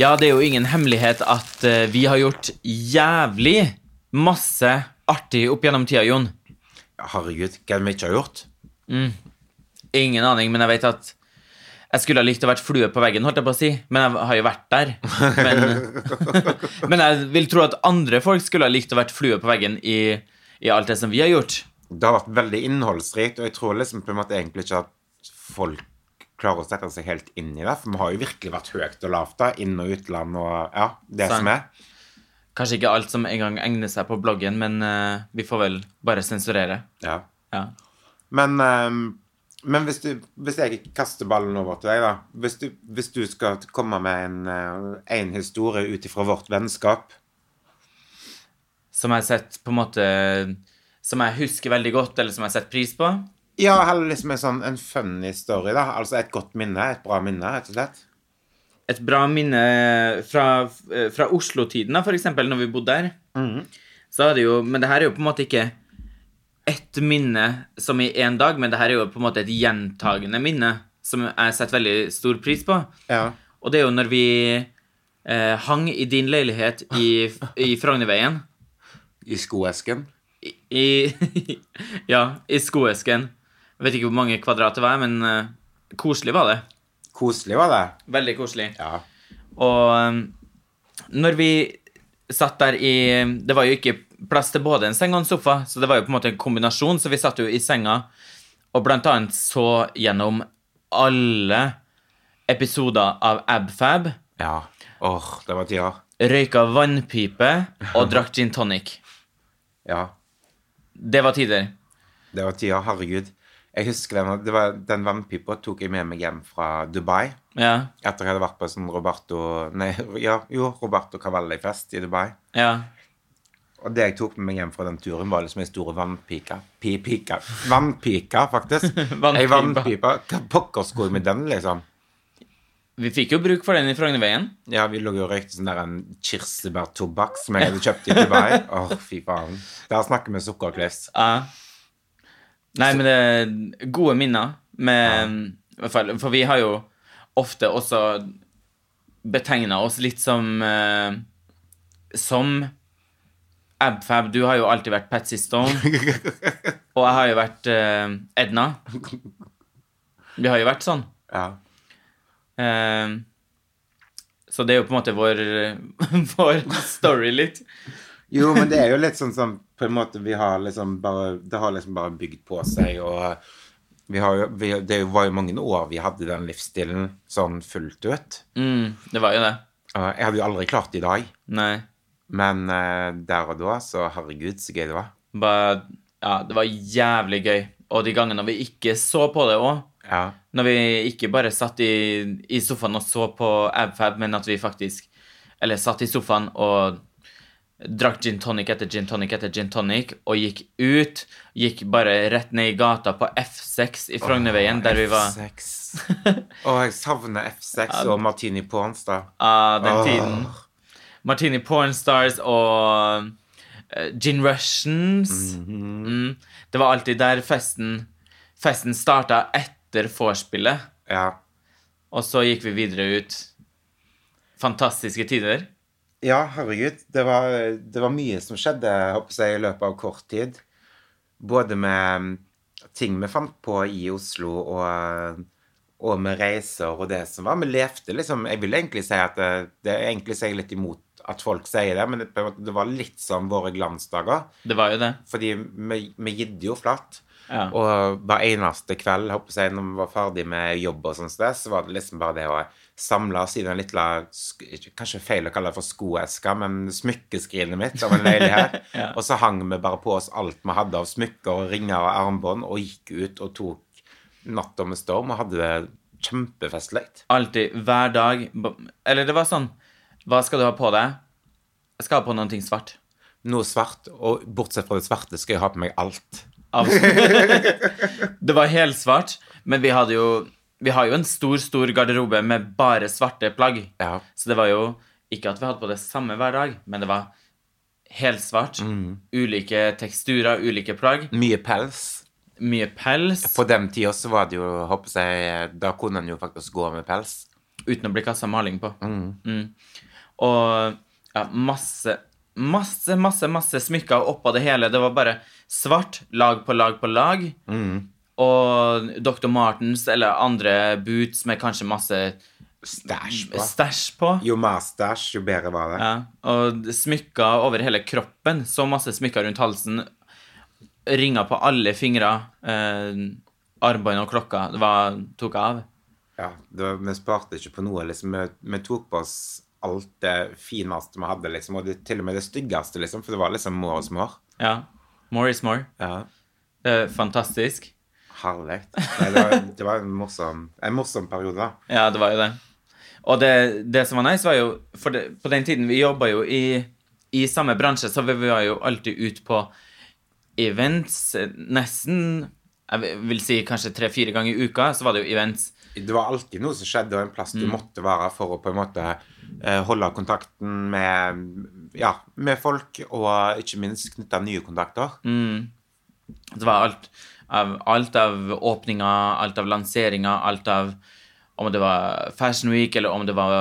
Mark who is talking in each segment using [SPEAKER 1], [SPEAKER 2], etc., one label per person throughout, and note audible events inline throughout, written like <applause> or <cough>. [SPEAKER 1] Ja, det er jo ingen hemmelighet at eh, vi har gjort jævlig masse artig opp gjennom tida, Jon.
[SPEAKER 2] Herregud, hva er det vi ikke har gjort?
[SPEAKER 1] Ingen aning, men jeg vet at jeg skulle ha likt å vært flue på veggen, holdt jeg på å si, men jeg har jo vært der. Men, men <laughs> jeg vil tro at andre folk skulle ha likt å vært flue på veggen i, i alt det som vi har gjort.
[SPEAKER 2] Det har vært veldig innholdsrikt, og jeg tror liksom på en måte egentlig ikke at folk klarer å sette seg helt inn i det. For vi har jo virkelig vært høyt og lavt, da. Inn- og utland og ja, det
[SPEAKER 1] Sant.
[SPEAKER 2] som er.
[SPEAKER 1] Kanskje ikke alt som engang egner seg på bloggen, men eh, vi får vel bare sensurere.
[SPEAKER 2] Ja.
[SPEAKER 1] Ja.
[SPEAKER 2] Men, ehm, men hvis, du, hvis jeg kaster ballen over til deg, da. Hvis du, hvis du skal komme med en, eh, en historie ut ifra vårt vennskap
[SPEAKER 1] Som jeg har sett på en måte Som jeg husker veldig godt, eller som jeg har sett pris på.
[SPEAKER 2] Ja, heller liksom en sånn en funny story, da. Altså et godt minne. Et bra minne, rett og slett.
[SPEAKER 1] et bra minne fra, eh, fra Oslo-tiden, da, for eksempel, når vi bodde der.
[SPEAKER 2] Mhm.
[SPEAKER 1] Så er det jo, men det her er jo på en måte ikke ett minne som i én dag, men det her er jo på en måte et gjentagende minne som jeg setter veldig stor pris på.
[SPEAKER 2] Ja.
[SPEAKER 1] Og det er jo når vi eh, hang i din leilighet i, i Frognerveien.
[SPEAKER 2] I skoesken.
[SPEAKER 1] I, i, <laughs> ja, i skoesken. Jeg vet ikke hvor mange kvadrat det var, men eh, koselig var det.
[SPEAKER 2] Koselig var det.
[SPEAKER 1] Veldig koselig.
[SPEAKER 2] Ja.
[SPEAKER 1] Og um, når vi satt der i Det var jo ikke plass til både en seng og en sofa, så det var jo på en måte en kombinasjon, så vi satt jo i senga og blant annet så gjennom alle episoder av Abfab,
[SPEAKER 2] ja. Åh, det var tida.
[SPEAKER 1] røyka vannpipe og drakk gin tonic.
[SPEAKER 2] Ja.
[SPEAKER 1] Det var tider.
[SPEAKER 2] Det var tida. Herregud. Jeg husker den, det var, den vannpipa tok jeg med meg hjem fra Dubai.
[SPEAKER 1] Ja.
[SPEAKER 2] Etter jeg hadde vært på sånn Roberto Nei, ja, jo, Roberto Cavalli-fest i Dubai.
[SPEAKER 1] Ja.
[SPEAKER 2] Og det jeg tok med meg hjem fra den turen, var liksom en stor vannpike. Pi-pike. Vannpike, faktisk. Ei
[SPEAKER 1] Vannpipa.
[SPEAKER 2] vannpipe. Hva pokker skulle jeg med den, liksom?
[SPEAKER 1] Vi fikk jo bruk for den i Frognerveien.
[SPEAKER 2] Ja, vi lå jo og røykte sånn der en kirsebærtobakk som jeg hadde kjøpt i Dubai. Åh, fy faen. Der snakker vi sukkerkløs.
[SPEAKER 1] Ja. Nei, men det er gode minner. Med, i hvert fall, For vi har jo ofte også betegna oss litt som eh, Som Abfab. Du har jo alltid vært Patsy Stone.
[SPEAKER 2] <laughs>
[SPEAKER 1] og jeg har jo vært eh, Edna. Vi har jo vært sånn.
[SPEAKER 2] <laughs> Ja.
[SPEAKER 1] Eh, så det er jo på en måte vår, <laughs> vår story litt.
[SPEAKER 2] Jo, men det er jo litt sånn som på en måte vi har liksom bare Det har liksom bare bygd på seg, og vi har jo vi, Det var jo mange år vi hadde den livsstilen sånn fullt ut.
[SPEAKER 1] Mm, det var jo det.
[SPEAKER 2] Og jeg hadde jo aldri klart det i dag,
[SPEAKER 1] Nei.
[SPEAKER 2] men eh, der og da, så herregud, så gøy det var.
[SPEAKER 1] Bare, ja, det var jævlig gøy. Og de gangene vi ikke så på det òg,
[SPEAKER 2] Ja.
[SPEAKER 1] når vi ikke bare satt i, i sofaen og så på AbFab, men at vi faktisk Eller satt i sofaen og drakk gin tonic etter gin tonic etter gin tonic og gikk ut. Gikk bare rett ned i gata på F6 i Frognerveien, der vi var
[SPEAKER 2] F6.
[SPEAKER 1] <laughs>
[SPEAKER 2] Å, jeg savner F6 og Martini Pornstad.
[SPEAKER 1] av Ah, den
[SPEAKER 2] Åh.
[SPEAKER 1] tiden. Martini Pornstars og eh, Gin Russians. mm. Det var alltid der festen Festen starta etter vorspielet,
[SPEAKER 2] Ja.
[SPEAKER 1] og så gikk vi videre ut. Fantastiske tider.
[SPEAKER 2] Ja, herregud. Det var, det var mye som skjedde jeg håper jeg, i løpet av kort tid. Både med mm, ting vi fant på i Oslo, og, og med reiser og det som var. Vi levde liksom Jeg vil egentlig si at det, det er egentlig så er jeg litt imot at folk sier det, men det, på en måte- det var litt sånn våre glansdager.
[SPEAKER 1] Det var jo det.
[SPEAKER 2] Fordi vi, vi gidde jo flatt.
[SPEAKER 1] Ja.
[SPEAKER 2] Og hver eneste kveld jeg håper jeg, når vi var ferdig med jobb, og sånt, sted, så var det liksom bare det å samle oss i den lille sk- Kanskje feil å kalle det for skoeska, men smykkeskrinet mitt av en leilighet. Og så hang vi bare på oss alt vi hadde av smykker og ringer og armbånd, og gikk ut og tok natta med storm og hadde det kjempefestlig.
[SPEAKER 1] Alltid, hver dag. b- Eller det var sånn Hva skal du ha på deg? Jeg skal ha på noe svart.
[SPEAKER 2] Noe svart, og bortsett fra det svarte skal jeg ha på meg alt.
[SPEAKER 1] Av. det var helsvart, men vi hadde jo Vi har jo en stor, stor garderobe med bare svarte plagg.
[SPEAKER 2] Ja.
[SPEAKER 1] Så det var jo ikke at vi hadde på det samme hver dag, men det var helsvart. Ulike teksturer, ulike plagg.
[SPEAKER 2] Mye pels.
[SPEAKER 1] Mye pels.
[SPEAKER 2] På den tida så var det jo, håper jeg, da kunne en jo faktisk gå med pels.
[SPEAKER 1] Uten å bli kasta maling på. Mm. Og ja, masse, masse, masse masse smykker oppå det hele. Det var bare svart, lag på lag på lag. Og Dr. Martens eller andre boots med kanskje masse
[SPEAKER 2] Stæsj på.
[SPEAKER 1] stæsj på.
[SPEAKER 2] Jo mer stæsj, jo bedre var det.
[SPEAKER 1] Ja, og smykker over hele kroppen. Så masse smykker rundt halsen. Ringer på alle fingre. Eh, Armbånd og klokka det var, tok jeg av.
[SPEAKER 2] Ja, det var, vi sparte ikke på noe, liksom. Vi, vi tok på oss alt det fineste vi hadde, liksom. Og det, til og med det styggeste, liksom. For det var liksom more is more.
[SPEAKER 1] Ja. More is more.
[SPEAKER 2] Ja.
[SPEAKER 1] Eh, fantastisk.
[SPEAKER 2] Herlig. Nei, det var, det var en, morsom, en morsom periode, da.
[SPEAKER 1] Ja, det var jo det. Og det, det som var nice, var jo For det, på den tiden vi jobba jo i, i samme bransje, så vi var jo alltid ute på events eh, nesten Jeg vil si kanskje tre-fire ganger i uka, så var det jo events.
[SPEAKER 2] Det var alltid noe som skjedde, og en plass du måtte være for å på en måte eh, holde kontakten med, ja, med folk, og ikke minst knytte nye kontakter.
[SPEAKER 1] Det var alt av, alt av åpninger, alt av lanseringer, alt av Om det var Fashion Week, eller om det var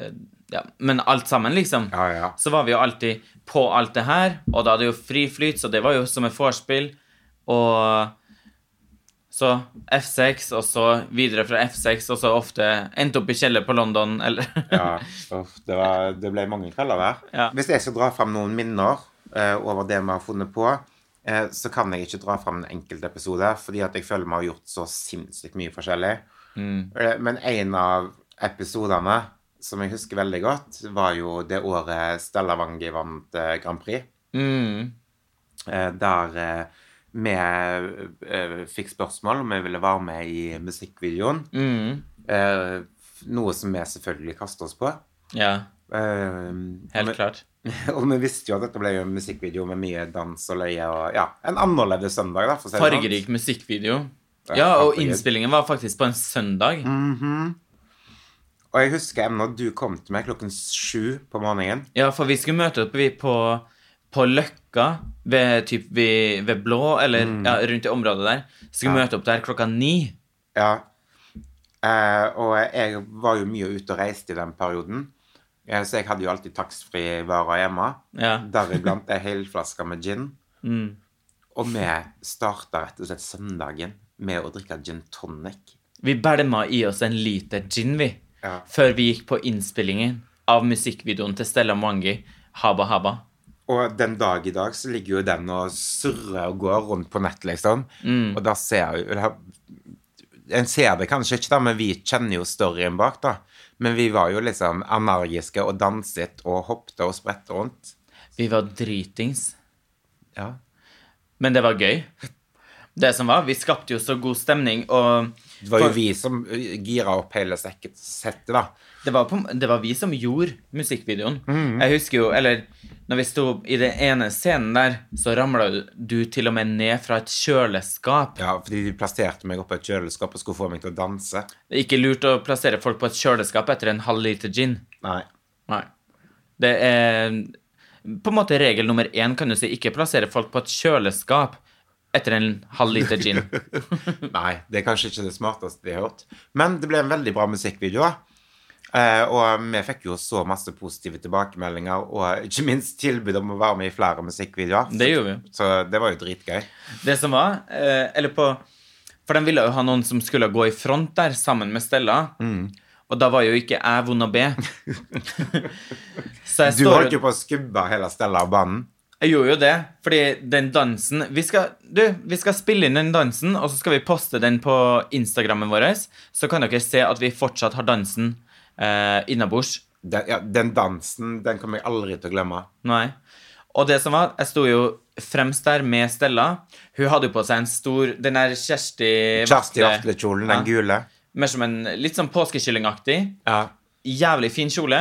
[SPEAKER 1] eh, ja, Men alt sammen, liksom.
[SPEAKER 2] Ja, ja.
[SPEAKER 1] Så var vi jo alltid på alt det her, og da hadde jo fri flyt, så det var jo som et vorspiel. Og så F6, og så videre fra F6, og så ofte endte opp i kjeller på London, eller <laughs>
[SPEAKER 2] Ja, uff, det, var, det ble mange kvelder der.
[SPEAKER 1] Ja.
[SPEAKER 2] Hvis jeg skal dra fram noen minner eh, over det vi har funnet på, eh, så kan jeg ikke dra fram en enkelt episode, fordi at jeg føler vi har gjort så sinnssykt mye forskjellig.
[SPEAKER 1] Mm.
[SPEAKER 2] Eh, men en av episodene som jeg husker veldig godt, var jo det året Stella Wangi vant eh, Grand Prix.
[SPEAKER 1] Mm,
[SPEAKER 2] Eh, der eh, vi eh, fikk spørsmål om vi ville være med i musikkvideoen.
[SPEAKER 1] mm.
[SPEAKER 2] Eh, f- noe som vi selvfølgelig kastet oss på.
[SPEAKER 1] Ja,
[SPEAKER 2] Eh,
[SPEAKER 1] helt
[SPEAKER 2] og vi-
[SPEAKER 1] klart.
[SPEAKER 2] Og vi visste jo at dette ble jo en musikkvideo med mye dans og løye og ja, en annerledes søndag, da. For å si det sånn.
[SPEAKER 1] Fargerik musikkvideo.
[SPEAKER 2] Ja,
[SPEAKER 1] Ja, og
[SPEAKER 2] fargerik.
[SPEAKER 1] innspillingen var faktisk på en søndag.
[SPEAKER 2] Og jeg husker ennå du kom til meg klokken sju på morgenen.
[SPEAKER 1] Ja, for vi skulle møte opp vi på, på Løkka, ved, typ, ved, ved Blå, eller ja, rundt i området der. Skulle møte opp der klokka ni.
[SPEAKER 2] Ja. Eh, og jeg var jo mye ute og reiste i den perioden, eh, så jeg hadde jo alltid taksfri varer hjemme.
[SPEAKER 1] Ja. Mm.
[SPEAKER 2] Deriblant ei helflaske med gin. Og vi starta rett og slett søndagen med å drikke gin tonic.
[SPEAKER 1] Vi bælma i oss en liter gin, vi.
[SPEAKER 2] Ja.
[SPEAKER 1] Før vi gikk på innspillingen av musikkvideoen til Stella Mwangi, Haba Haba.
[SPEAKER 2] Og den dag i dag så ligger jo den og surrer og går rundt på nett, liksom. Og da ser jeg jo En ser det kanskje ikke, da, men vi kjenner jo storyen bak, da. Men vi var jo liksom energiske og danset og hoppet og spredte rundt.
[SPEAKER 1] Vi var dritings.
[SPEAKER 2] Ja.
[SPEAKER 1] Men det var gøy. Det som var, Vi skapte jo så god stemning, og
[SPEAKER 2] Det var jo vi som eh, gira opp hele sekket- settet, da.
[SPEAKER 1] det var, på, det var vi som gjorde musikkvideoen. Jeg husker jo, eller når vi sto i den ene scenen der, så ramla du til og med ned fra et kjøleskap.
[SPEAKER 2] Ja, fordi de plasserte meg oppå et kjøleskap og skulle få meg til å danse.
[SPEAKER 1] Det er ikke lurt å plassere folk på et kjøleskap etter en halv liter gin.
[SPEAKER 2] Nei.
[SPEAKER 1] Nei. Det er på en måte regel nummer én, kan du si. Ikke plassere folk på et kjøleskap etter en halv liter gin.
[SPEAKER 2] Nei, det er kanskje ikke det smarteste de har gjort. Men det ble en veldig bra musikkvideo. da. Eh, og vi fikk jo så masse positive tilbakemeldinger, og ikke minst tilbud om å være med i flere musikkvideoer.
[SPEAKER 1] Det gjorde vi.
[SPEAKER 2] Så det var jo dritgøy.
[SPEAKER 1] Det som var, eh, eller på For de ville jo ha noen som skulle gå i front der, sammen med Stella.
[SPEAKER 2] Mm.
[SPEAKER 1] Og da var jo ikke jeg vond å
[SPEAKER 2] <laughs>
[SPEAKER 1] be. Så jeg
[SPEAKER 2] Du
[SPEAKER 1] står
[SPEAKER 2] holdt jo på å skubbe hele Stella av banen.
[SPEAKER 1] Jeg gjorde jo det, fordi den dansen vi skal, Du, vi skal spille inn den dansen, og så skal vi poste den på Instagrammen vår. Så kan dere se at vi fortsatt har dansen eh, innabords.
[SPEAKER 2] Den, ja, den dansen den kommer jeg aldri til å glemme.
[SPEAKER 1] Nei. Og det som var, jeg sto jo fremst der med Stella. Hun hadde jo på seg en stor Den der Kjersti
[SPEAKER 2] Kjersti
[SPEAKER 1] Vakle-
[SPEAKER 2] Aftekjolen,
[SPEAKER 1] Ja.
[SPEAKER 2] den gule.
[SPEAKER 1] Mer som en litt sånn påskekyllingaktig.
[SPEAKER 2] Ja.
[SPEAKER 1] Jævlig fin kjole.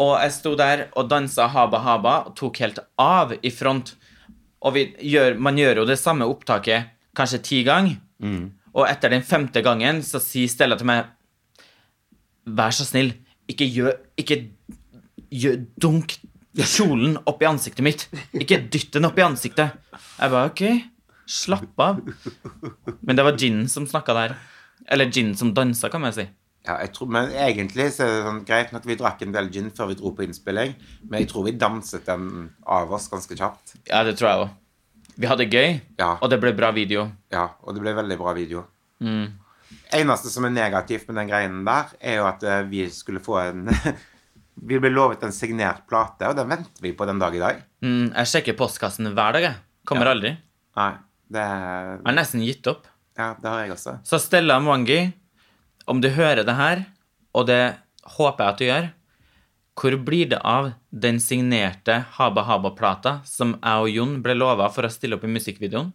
[SPEAKER 1] Og jeg sto der og dansa haba haba og tok helt av i front. Og vi gjør, man gjør jo det samme opptaket kanskje ti ganger. Og etter den femte gangen så sier Stella til meg Vær så snill, ikke gjør Ikke gjør, dunk kjolen opp i ansiktet mitt. Ikke dytt den opp i ansiktet. Jeg bare OK, slapp av. Men det var ginen som snakka der. Eller ginen som dansa, kan man si.
[SPEAKER 2] Ja, jeg tror, men egentlig så er det sånn greit nok vi drakk en del gin før vi dro på innspilling, men jeg tror vi danset den av oss ganske kjapt.
[SPEAKER 1] Ja, det tror jeg òg. Vi hadde gøy,
[SPEAKER 2] Ja.
[SPEAKER 1] og det ble bra video.
[SPEAKER 2] Ja, og det ble veldig bra video. Mm. Eneste som er negativt med den greien der, er jo at eh, vi skulle få en <laughs> Vi ble lovet en signert plate, og den venter vi på den dag i dag.
[SPEAKER 1] Mm, jeg sjekker postkassen hver dag, jeg. Kommer aldri. Jeg
[SPEAKER 2] Nei, det
[SPEAKER 1] har nesten gitt opp.
[SPEAKER 2] Ja, det har jeg også.
[SPEAKER 1] Så Stella Mwangi, om du hører det her, og det håper jeg at du gjør, hvor blir det av den signerte Haba Haba-plata som jeg og Jon ble lova for å stille opp i musikkvideoen?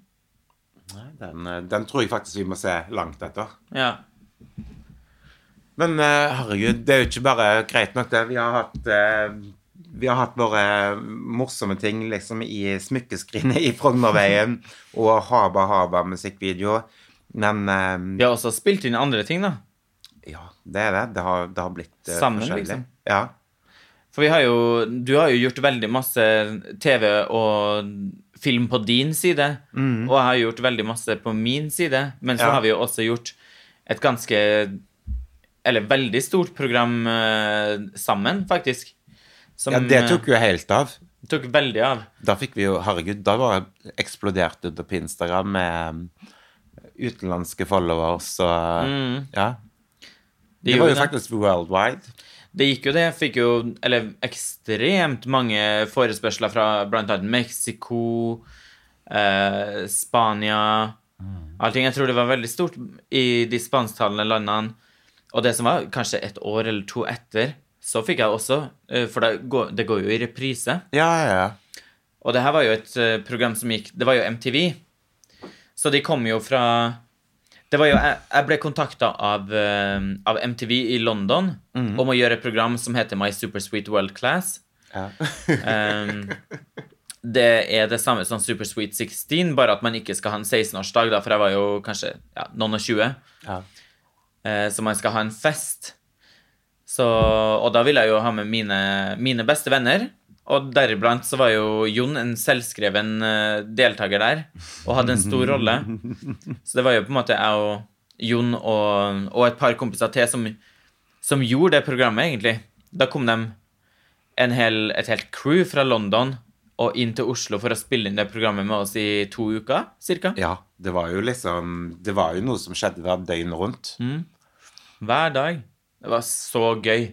[SPEAKER 2] Den, eh, den tror jeg faktisk vi må se langt etter.
[SPEAKER 1] Ja.
[SPEAKER 2] Men eh, herregud, det er jo ikke bare greit nok, det. Vi har hatt eh, vi har hatt våre morsomme ting liksom i smykkeskrinet i Frognerveien og Haba Haba musikkvideo. Men eh,
[SPEAKER 1] Vi har også spilt inn andre ting, da.
[SPEAKER 2] Ja, det er det. Det har, det har blitt eh,
[SPEAKER 1] Sammen,
[SPEAKER 2] forskjellig.
[SPEAKER 1] liksom.
[SPEAKER 2] Ja.
[SPEAKER 1] For vi har jo, du har jo gjort veldig masse TV og film på din side, og jeg har gjort veldig masse på min side, men så
[SPEAKER 2] Mm. Ja.
[SPEAKER 1] har vi jo også gjort et ganske, eller veldig stort program eh, sammen, faktisk. Som
[SPEAKER 2] ja,
[SPEAKER 1] Mm.
[SPEAKER 2] det tok jo helt av.
[SPEAKER 1] eh, tok veldig av.
[SPEAKER 2] Da fikk vi jo Herregud, da var eksploderte det på Instagram med eh, utenlandske followers og Ja. Det, var
[SPEAKER 1] Mm. gjorde
[SPEAKER 2] jo faktisk worldwide.
[SPEAKER 1] Det gikk jo det. Jeg fikk jo eller, ekstremt mange forespørsler fra bl.a. Mexico, eh, Spania Allting. Jeg tror det var veldig stort i de spansktalende landene. Og det som var kanskje et år eller to etter, så fikk jeg også eh, For det går, det går jo i reprise.
[SPEAKER 2] Ja, ja, ja.
[SPEAKER 1] Og det her var jo et eh, program som gikk Det var jo MTV. Så de kom jo fra Det var jo Jeg, jeg ble kontakta av, eh, av MTV i London om å gjøre et program som heter My Super Sweet World Class. Um, det er det samme som Super Sweet 16, bare at man ikke skal ha en 16-årsdag, da, for jeg var jo kanskje ja, noen og 20.
[SPEAKER 2] <laughs> Ja.
[SPEAKER 1] Eh, så man skal ha en fest. Så, og da ville jeg jo ha med mine, mine beste venner. Og deriblant så var jo Jon en selvskreven eh, deltaker der, og hadde en stor rolle. Så det var jo på en måte jeg og Jon og, og et par kompiser til som, som gjorde det programmet, egentlig. Da kom de en hel, et helt crew fra London og inn til Oslo for å spille inn det programmet med oss i to uker, cirka.
[SPEAKER 2] Ja, det var jo liksom Det var jo noe som skjedde der døgnet rundt.
[SPEAKER 1] Mm. Hver dag. Det var så gøy.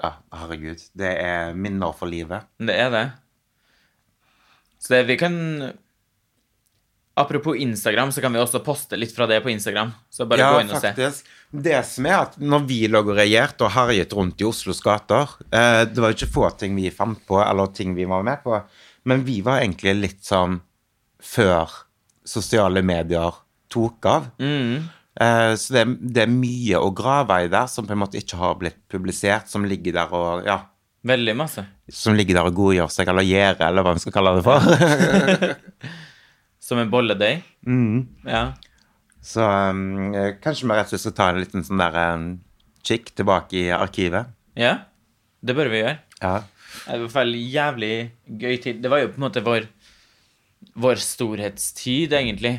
[SPEAKER 2] Ja, herregud. Det er minner for livet.
[SPEAKER 1] Det er det. Så det, vi kan Apropos Instagram, så kan vi også poste litt fra det på Instagram. Så bare gå inn og se.
[SPEAKER 2] faktisk. Det som er at når vi lå og regjerte og harjet rundt i Oslos gater eh, Det var jo ikke få ting vi fant på, eller ting vi var med på, men vi var egentlig litt sånn før sosiale medier tok av.
[SPEAKER 1] Mm.
[SPEAKER 2] Eh, så det, det er mye å grave i der som på en måte ikke har blitt publisert, som ligger der og ja,
[SPEAKER 1] Veldig masse.
[SPEAKER 2] som ligger der og godgjør seg, eller gjerde, eller hva vi skal kalle det for.
[SPEAKER 1] Som en bolledeig. Ja.
[SPEAKER 2] <laughs> Så um, eh, kanskje vi rett og slett skal ta en liten sånn der um, kikk tilbake i arkivet.
[SPEAKER 1] ja. Det bør vi gjøre.
[SPEAKER 2] Ja.
[SPEAKER 1] Det var i hvert fall jævlig gøy tid. Det var jo på en måte vår, vår storhetstid, egentlig.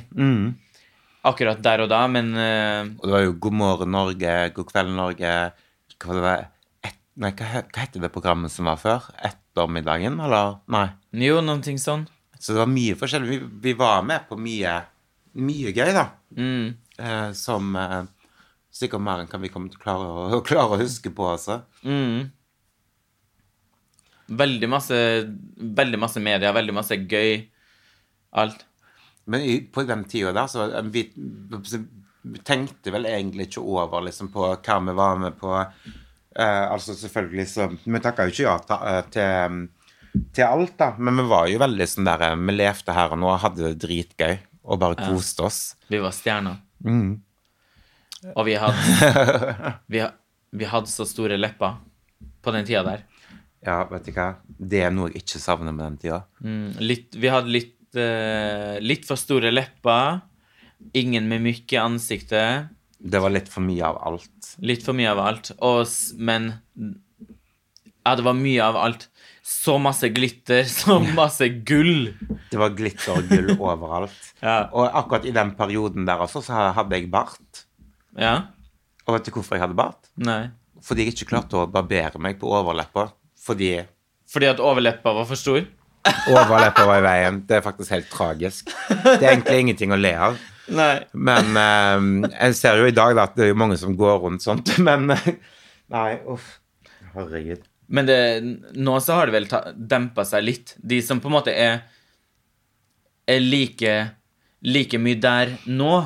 [SPEAKER 1] Akkurat der og da, men eh,
[SPEAKER 2] Og det var jo God morgen Norge, God kveld Norge Hva var det der? Et, nei, hva, he- hva heter det programmet som var før? Ettermiddagen, eller? Nei.
[SPEAKER 1] jo, noen ting sånn.
[SPEAKER 2] Så det var mye forskjellig. Vi, vi var med på mye, mye gøy, da. Eh, som eh, sikkert mer enn kan vi kommer til å klare å, <laughs> klare å huske på, altså.
[SPEAKER 1] Mm. Veldig masse, veldig masse media, veldig masse gøy. Alt.
[SPEAKER 2] Men i, på den tida der, så eh, vi, vi tenkte vel egentlig ikke over liksom, på hva vi var med på. Eh, altså selvfølgelig så Vi takka jo ikke ja ta, eh, til, til alt, da. Men vi var jo veldig sånn der eh, Vi levde her og nå, hadde det dritgøy og bare koste oss.
[SPEAKER 1] Vi var stjerner. Og vi hadde, vi, ha- vi hadde så store lepper på den tida der.
[SPEAKER 2] Ja, vet du hva. Det er noe jeg ikke savner med den tida.
[SPEAKER 1] Mm, Litt, vi hadde litt, eh, litt for store lepper. Ingen mimikk i ansiktet.
[SPEAKER 2] Det var litt for mye av alt.
[SPEAKER 1] Litt for mye av alt. Og, s- men Ja, det var mye av alt. Så masse glitter, <laughs> så masse gull.
[SPEAKER 2] Det var glitter og gull overalt.
[SPEAKER 1] Ja.
[SPEAKER 2] Og akkurat i den perioden der også, så hadde jeg bart.
[SPEAKER 1] Ja.
[SPEAKER 2] Og vet du hvorfor jeg hadde bart?
[SPEAKER 1] Nei.
[SPEAKER 2] Fordi jeg ikke klarte å barbere meg på overleppa. Fordi
[SPEAKER 1] Fordi at overleppa var for stor?
[SPEAKER 2] overleppa var i veien. Det er faktisk helt tragisk. Det er egentlig ingenting å le av.
[SPEAKER 1] Nei.
[SPEAKER 2] Men eh, jeg ser jo i dag da, at det er jo mange som går rundt sånt, <laughs> men eh, Nei, uff. Herregud.
[SPEAKER 1] Men det, nå så har det vel ta- dempa seg litt. De som på en måte er, er like, like mye der nå,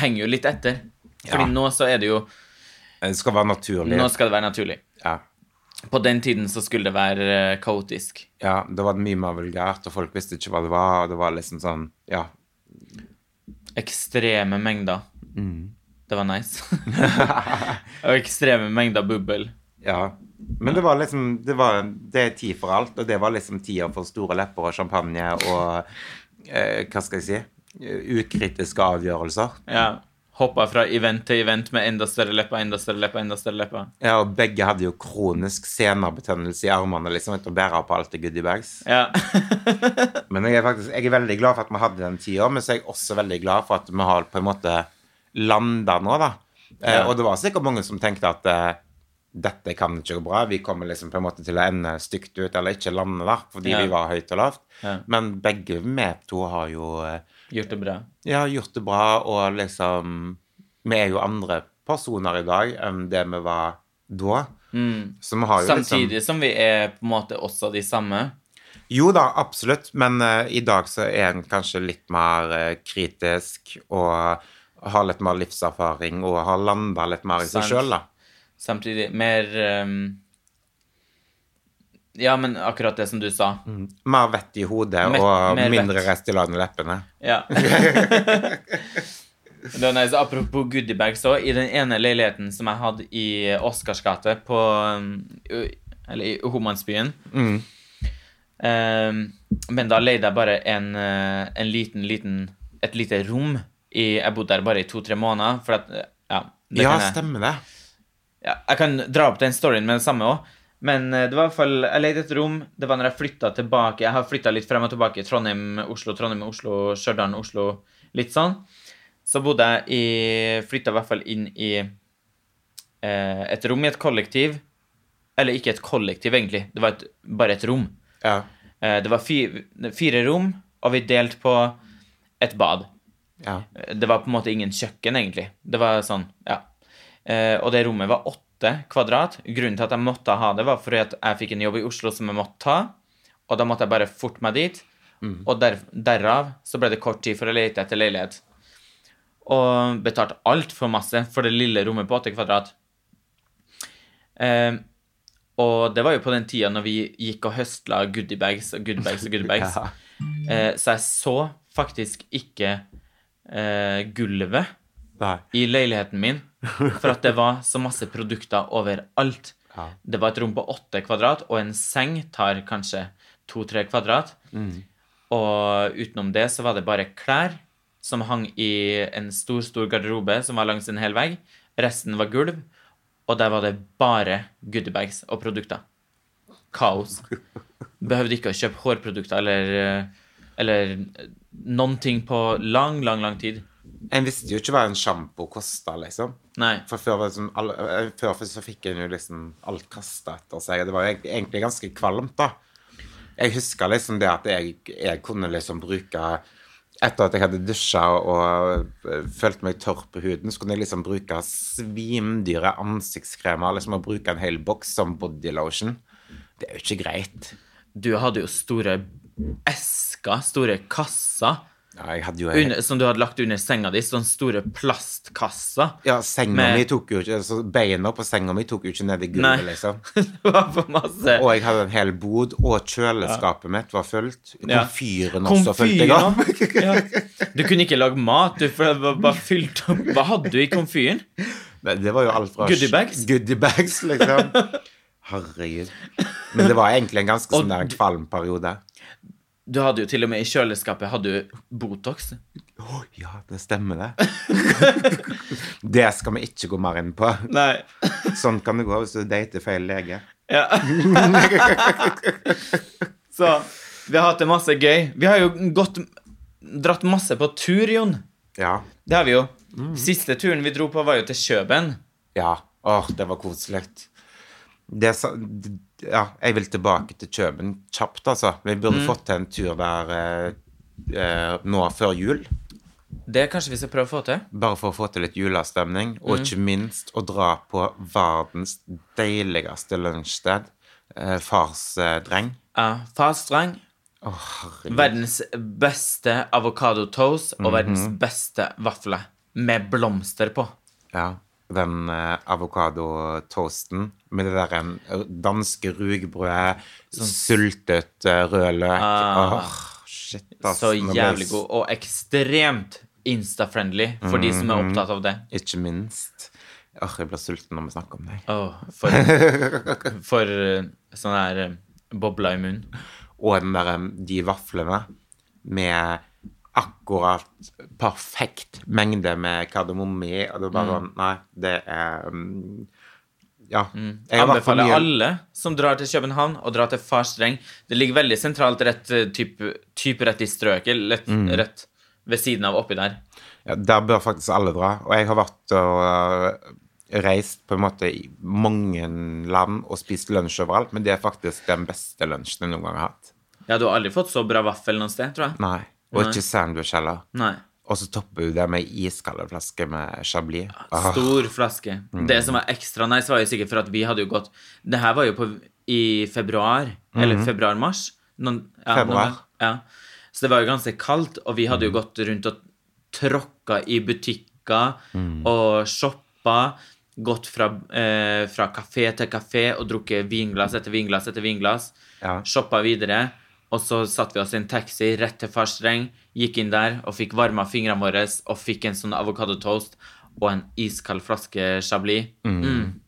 [SPEAKER 1] henger jo litt etter. Fordi
[SPEAKER 2] Ja.
[SPEAKER 1] nå så er det jo
[SPEAKER 2] Det skal være naturlig.
[SPEAKER 1] Nå skal det være naturlig.
[SPEAKER 2] Ja.
[SPEAKER 1] På den tiden så skulle det være eh, kaotisk.
[SPEAKER 2] ja, da var det mye mer vulgært, og folk visste ikke hva det var, og det var liksom sånn Ja.
[SPEAKER 1] Ekstreme mengder. Mm. Det var <laughs> nice. Og ekstreme mengder bubbel.
[SPEAKER 2] ja. Men det var liksom det, var, det er tid for alt, og det var liksom tida for store lepper og champagne og eh, Hva skal jeg si? Ukritiske avgjørelser.
[SPEAKER 1] Ja. Hoppa fra event til event med enda større lepper, enda større lepper, enda større lepper.
[SPEAKER 2] Ja, og begge hadde jo kronisk senabetennelse i armene liksom, etter å bære på alt det goodiebags.
[SPEAKER 1] Ja.
[SPEAKER 2] Men jeg er faktisk jeg er veldig glad for at vi hadde den tida, men så er jeg også veldig glad for at vi har på en måte landa nå, da. Eh,
[SPEAKER 1] Ja.
[SPEAKER 2] og det var sikkert mange som tenkte at eh, dette kan ikke gå bra, vi kommer liksom på en måte til å ende stygt ut, eller ikke lande der, fordi
[SPEAKER 1] Ja.
[SPEAKER 2] vi var høyt og lavt.
[SPEAKER 1] Ja.
[SPEAKER 2] Men begge vi to har jo eh,
[SPEAKER 1] Gjort det bra.
[SPEAKER 2] ja, gjort det bra, og liksom Vi er jo andre personer i dag enn det vi var da. Så vi har jo
[SPEAKER 1] Mm.
[SPEAKER 2] liksom
[SPEAKER 1] Samtidig som vi er på en måte også de samme.
[SPEAKER 2] Jo da, absolutt, men eh, i dag så er en kanskje litt mer eh, kritisk og har litt mer livserfaring og har landa litt mer i seg
[SPEAKER 1] Sant.
[SPEAKER 2] sjøl, da.
[SPEAKER 1] Samtidig mer ehm, Ja, men akkurat det som du sa.
[SPEAKER 2] Mm. Mer vett i hodet
[SPEAKER 1] Mm. Mer-
[SPEAKER 2] og
[SPEAKER 1] mer
[SPEAKER 2] mindre
[SPEAKER 1] vett.
[SPEAKER 2] rest i land i leppene.
[SPEAKER 1] Ja. det var nice. Apropos goodiebags òg. I den ene leiligheten som jeg hadde i Oscars gate, på um, u- Eller i Homansbyen um, Men da leide jeg bare en, uh, en liten, liten Et lite rom. I, jeg bodde der bare i to-tre måneder, for at eh, Ja, det
[SPEAKER 2] Ja,
[SPEAKER 1] kan jeg-
[SPEAKER 2] stemmer det.
[SPEAKER 1] ja, jeg kan dra opp den storyen med det samme òg. Men eh, det var i hvert fall Jeg leide et rom. Det var når jeg flytta tilbake. Jeg har flytta litt frem og tilbake. Trondheim, Oslo, Trondheim, Oslo, Stjørdal, Oslo. Litt sånn. Så bodde jeg i Flytta i hvert fall inn i eh, et rom i et kollektiv. Eller ikke et kollektiv, egentlig. Det var et, bare et rom.
[SPEAKER 2] Ja.
[SPEAKER 1] Eh, det var fi, fire rom, og vi delte på et bad.
[SPEAKER 2] ja.
[SPEAKER 1] Eh, Det var på en måte ingen kjøkken, egentlig. Det var sånn, ja. Eh, og det rommet var åtte kvadrat. Grunnen til at jeg måtte ha det, var fordi at jeg fikk en jobb i Oslo som jeg måtte ta. Og da måtte jeg bare forte meg dit. Og der, derav så ble det kort tid for å lete etter leilighet. Og betalte altfor masse for det lille rommet på åtte kvadrat. Eh, og det var jo på den tida når vi gikk og høstla goodiebags og goodiebags og goodiebags.
[SPEAKER 2] Ja.
[SPEAKER 1] Eh, så jeg så faktisk ikke eh, gulvet
[SPEAKER 2] Nei.
[SPEAKER 1] i leiligheten min, for at det var så masse produkter overalt.
[SPEAKER 2] Ja.
[SPEAKER 1] Det var et rom på åtte kvadrat, og en seng tar kanskje to-tre kvadrat. Og utenom det så var det bare klær som hang i en stor, stor garderobe som var langs en hel vegg. Resten var gulv, og der var det bare goodiebags og produkter. Kaos. Behøvde ikke å kjøpe hårprodukter eller, eller noen ting på lang, lang, lang tid.
[SPEAKER 2] En visste jo ikke hva en sjampo kosta, liksom.
[SPEAKER 1] Nei.
[SPEAKER 2] For før, var det sånn, alle, eh, før så fikk en jo liksom alt kasta etter seg, og det var jo egentlig, egentlig ganske kvalmt, da. Jeg husker liksom det at jeg, jeg kunne liksom bruke Etter at jeg hadde dusja og eh, følte meg tørr på huden, så kunne jeg liksom bruke svimdyre ansiktskremer, liksom å bruke en hel boks som bodylotion. Det er jo ikke greit.
[SPEAKER 1] Du hadde jo store esker, store kasser,
[SPEAKER 2] Ja, jeg hadde jo
[SPEAKER 1] under, som du hadde lagt under senga di. Sånne store plastkasser.
[SPEAKER 2] Ja, senga
[SPEAKER 1] Med-
[SPEAKER 2] mi tok jo ikke så Beina på senga mi tok jo ikke ned i
[SPEAKER 1] Nei.
[SPEAKER 2] gulvet, liksom.
[SPEAKER 1] <laughs> det var for masse.
[SPEAKER 2] Og jeg hadde en hel bod, og kjøleskapet mitt var fullt.
[SPEAKER 1] Ja.
[SPEAKER 2] Komfyren også fulgte jeg av.
[SPEAKER 1] Komfyr. Ja. Du kunne ikke lage mat, du, for det var bare fylt opp. Hva hadde du i komfyren?
[SPEAKER 2] Men Det var jo alt fra
[SPEAKER 1] Goodiebags?
[SPEAKER 2] goodiebags,
[SPEAKER 1] <laughs>
[SPEAKER 2] liksom. Herregud. Men det var egentlig en ganske
[SPEAKER 1] Og
[SPEAKER 2] sånn der kvalm periode.
[SPEAKER 1] Du hadde jo til og med i kjøleskapet hadde du Botox.
[SPEAKER 2] Å, ja, det stemmer, det.
[SPEAKER 1] <laughs>
[SPEAKER 2] det skal vi ikke gå mer inn på.
[SPEAKER 1] Nei.
[SPEAKER 2] Sånn kan det gå hvis du dater feil lege.
[SPEAKER 1] Ja. <laughs> Så vi har hatt det masse gøy. Vi har jo gått Dratt masse på tur, Jon.
[SPEAKER 2] Ja.
[SPEAKER 1] Det har vi jo. Siste turen vi dro på, var jo til Kjøben.
[SPEAKER 2] Ja. Åh, det var koselig. Det sa, d- ja, jeg vil tilbake til Kjøben kjapt, altså. Vi burde fått til en tur der eh, eh, nå før jul.
[SPEAKER 1] Det kanskje vi skal prøve å få til.
[SPEAKER 2] Bare for å få til litt julestemning, og ikke minst å dra på verdens deiligste lunsjsted. Eh, Farsdreng.
[SPEAKER 1] Ja, Fastrang.
[SPEAKER 2] Å, herregud.
[SPEAKER 1] Verdens beste avokadotoast
[SPEAKER 2] Mhm.
[SPEAKER 1] og verdens beste vafle med blomster på.
[SPEAKER 2] Ja. Den eh, avokadotoasten med det der eh, danske rugbrødet, syltet eh, rød løk Åh,
[SPEAKER 1] Sånn Ah.
[SPEAKER 2] shit, ass.
[SPEAKER 1] Så
[SPEAKER 2] Nå ble jeg
[SPEAKER 1] jævlig god og ekstremt insta-friendly for de
[SPEAKER 2] Mhm.
[SPEAKER 1] som er opptatt av det.
[SPEAKER 2] Ikke minst. Åh, jeg blir sulten når vi snakker om deg.
[SPEAKER 1] Åh, for
[SPEAKER 2] <laughs>
[SPEAKER 1] for eh, sånn her eh, bobla i munnen.
[SPEAKER 2] Og den der, eh, de vaflene med akkurat perfekt mengde med kardemomme i. Og det er bare
[SPEAKER 1] Mm.
[SPEAKER 2] sånn Nei, det er mm, Ja. Jeg har vært for
[SPEAKER 1] Mm. Anbefaler
[SPEAKER 2] mye-
[SPEAKER 1] alle som drar til København og drar til Farstreng. Det ligger veldig sentralt rett eh, typ, typ rett i strøket, lett,
[SPEAKER 2] Mhm.
[SPEAKER 1] rett ved siden av oppi der.
[SPEAKER 2] Ja, der bør faktisk alle dra. Og jeg har vært og øh, reist på en måte i mange land og spist lunsj overalt, men det er faktisk den beste lunsjen jeg noen gang har hatt.
[SPEAKER 1] Ja, du har aldri fått så bra vaffel noe sted, tror jeg.
[SPEAKER 2] Nei.
[SPEAKER 1] Nei.
[SPEAKER 2] Og ikke sandwich heller.
[SPEAKER 1] Nei.
[SPEAKER 2] Og så topper du det med iskalde flasker med chablis. Åh,
[SPEAKER 1] Stor flaske. Det som var ekstra nice, var jo sikkert for at vi hadde jo gått Det her var jo på, i februar, eller februar-mars. Noen- ja, noen
[SPEAKER 2] Februar.
[SPEAKER 1] gang. ja. Så det var jo ganske kaldt, og vi hadde jo gått rundt og tråkka i butikker og shoppa. Gått fra, eh, fra kafé til kafé og drukket vinglass etter vinglass etter vinglass.
[SPEAKER 2] Ja.
[SPEAKER 1] Shoppa videre. Og så satte vi oss i en taxi rett til Farstreng, gikk inn der og fikk varma fingrene våre og fikk en sånn avokadotoast og en iskald flaske chablis. Mm.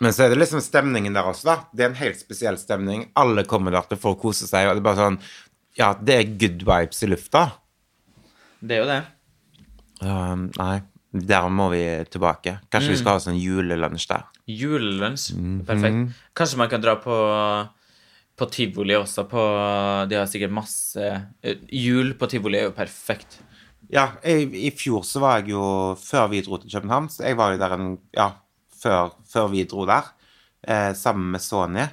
[SPEAKER 2] Men så er det liksom stemningen der også, da. Det er en helt spesiell stemning. Alle kommer der til for å kose seg, og det er bare sånn Ja, det er good vibes i lufta.
[SPEAKER 1] Det er jo det.
[SPEAKER 2] Ehm, nei, der må vi tilbake. Kanskje
[SPEAKER 1] Mm.
[SPEAKER 2] vi skal ha sånn julelunsj der.
[SPEAKER 1] Julelunsj.
[SPEAKER 2] Mhm.
[SPEAKER 1] Perfekt. Kanskje man kan dra på, på tivoli også. På, de har sikkert masse eh, Jul på tivoli er jo perfekt.
[SPEAKER 2] Ja, jeg, i fjor så var jeg jo Før vi dro til København, så jeg var jo der en Ja, før, før vi dro der, eh, sammen med Sony.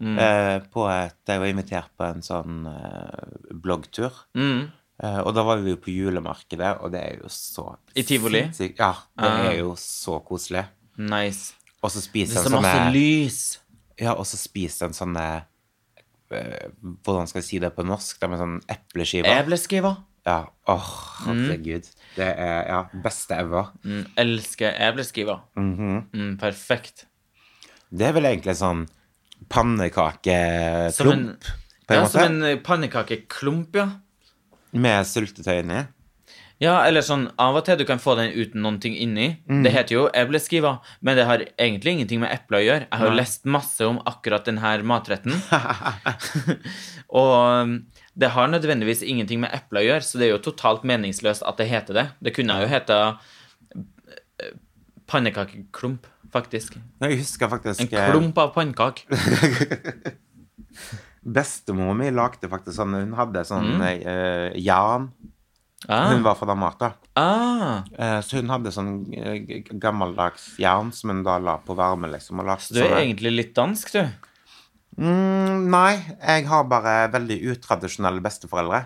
[SPEAKER 1] Mm.
[SPEAKER 2] Eh, på et, jeg var invitert på en sånn eh, bloggtur.
[SPEAKER 1] Mm.
[SPEAKER 2] Eh, og da var vi jo på julemarkedet, og det er jo så
[SPEAKER 1] I tivoli?
[SPEAKER 2] sinnssykt- Ja. Det
[SPEAKER 1] Ah.
[SPEAKER 2] er jo så koselig.
[SPEAKER 1] Nice.
[SPEAKER 2] Og så
[SPEAKER 1] Det
[SPEAKER 2] spiser
[SPEAKER 1] er
[SPEAKER 2] en
[SPEAKER 1] så
[SPEAKER 2] sånne
[SPEAKER 1] masse lys.
[SPEAKER 2] Ja, og så spiser en sånne eh, Hvordan skal jeg si det på norsk? Det er med sånn epleskiver.
[SPEAKER 1] Ebleskiver.
[SPEAKER 2] Ja. Åh, herregud. Det er ja, beste ever.
[SPEAKER 1] Mm, elsker ebleskiver.
[SPEAKER 2] Mhm.
[SPEAKER 1] mm, perfekt.
[SPEAKER 2] Det er vel egentlig sånn
[SPEAKER 1] Som en,
[SPEAKER 2] pannekakeklump, på en
[SPEAKER 1] ja, som
[SPEAKER 2] måte,
[SPEAKER 1] en eh, pannekakeklump, ja.
[SPEAKER 2] med syltetøy inni.
[SPEAKER 1] Ja, eller sånn av og til du kan få den uten noen ting inni.
[SPEAKER 2] Mm.
[SPEAKER 1] Det heter jo ebleskiva, men det har egentlig ingenting med eple å gjøre. Jeg har jo lest masse om akkurat denne
[SPEAKER 2] <laughs>
[SPEAKER 1] matretten. <laughs> og um, det har nødvendigvis ingenting med eple å gjøre, så det er jo totalt meningsløst at det heter det. Det kunne jo hete eh, pannekakeklump, faktisk.
[SPEAKER 2] Jeg husker faktisk
[SPEAKER 1] En
[SPEAKER 2] eh,
[SPEAKER 1] klump av pannekak.
[SPEAKER 2] <laughs> Bestemor mi lagde faktisk sånn Hun hadde sånn eh, jern. Hun
[SPEAKER 1] Mm. Ah,
[SPEAKER 2] var fra Danmark, da.
[SPEAKER 1] ah,
[SPEAKER 2] Eh, så hun hadde sånn eh, g- gammeldags jern som hun da la på varme, liksom. Og lagde
[SPEAKER 1] du er
[SPEAKER 2] sånne-
[SPEAKER 1] egentlig litt dansk, du.
[SPEAKER 2] Mm, nei, jeg har bare veldig utradisjonelle besteforeldre.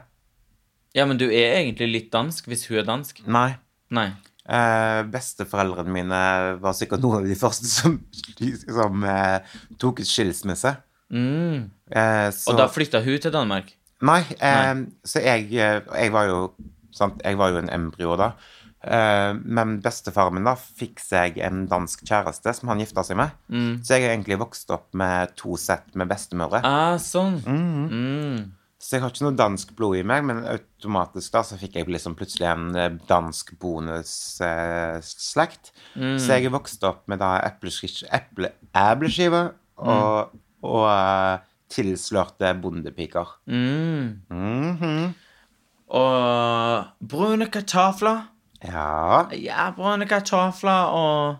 [SPEAKER 1] Ja, men du er egentlig litt dansk hvis hun er dansk.
[SPEAKER 2] Nei.
[SPEAKER 1] Nei.
[SPEAKER 2] Eh, besteforeldrene mine var sikkert noen av de første som, som eh, tok ut skilsmisse.
[SPEAKER 1] Mm.
[SPEAKER 2] Eh, så,
[SPEAKER 1] Og da flytta hun til Danmark.
[SPEAKER 2] Nei, eh, så jeg, eh, jeg var jo sant, Jeg var jo en embryo da. Eh, men bestefaren min da fikk seg en dansk kjæreste som han gifta seg med.
[SPEAKER 1] Mm.
[SPEAKER 2] Så jeg har egentlig vokst opp med to sett med bestemødre.
[SPEAKER 1] Ah, sånn.
[SPEAKER 2] Mm. Så jeg har ikke noe dansk blod i meg, men automatisk da så fikk jeg liksom plutselig en eh, dansk bonusslekt. Så jeg er vokst opp med da epleskish- eple- epleskive og, og eh, tilslørte bondepiker.
[SPEAKER 1] Mm.
[SPEAKER 2] Mhm.
[SPEAKER 1] Og brune kartofler.
[SPEAKER 2] Ja.
[SPEAKER 1] Ja, brune kartofler og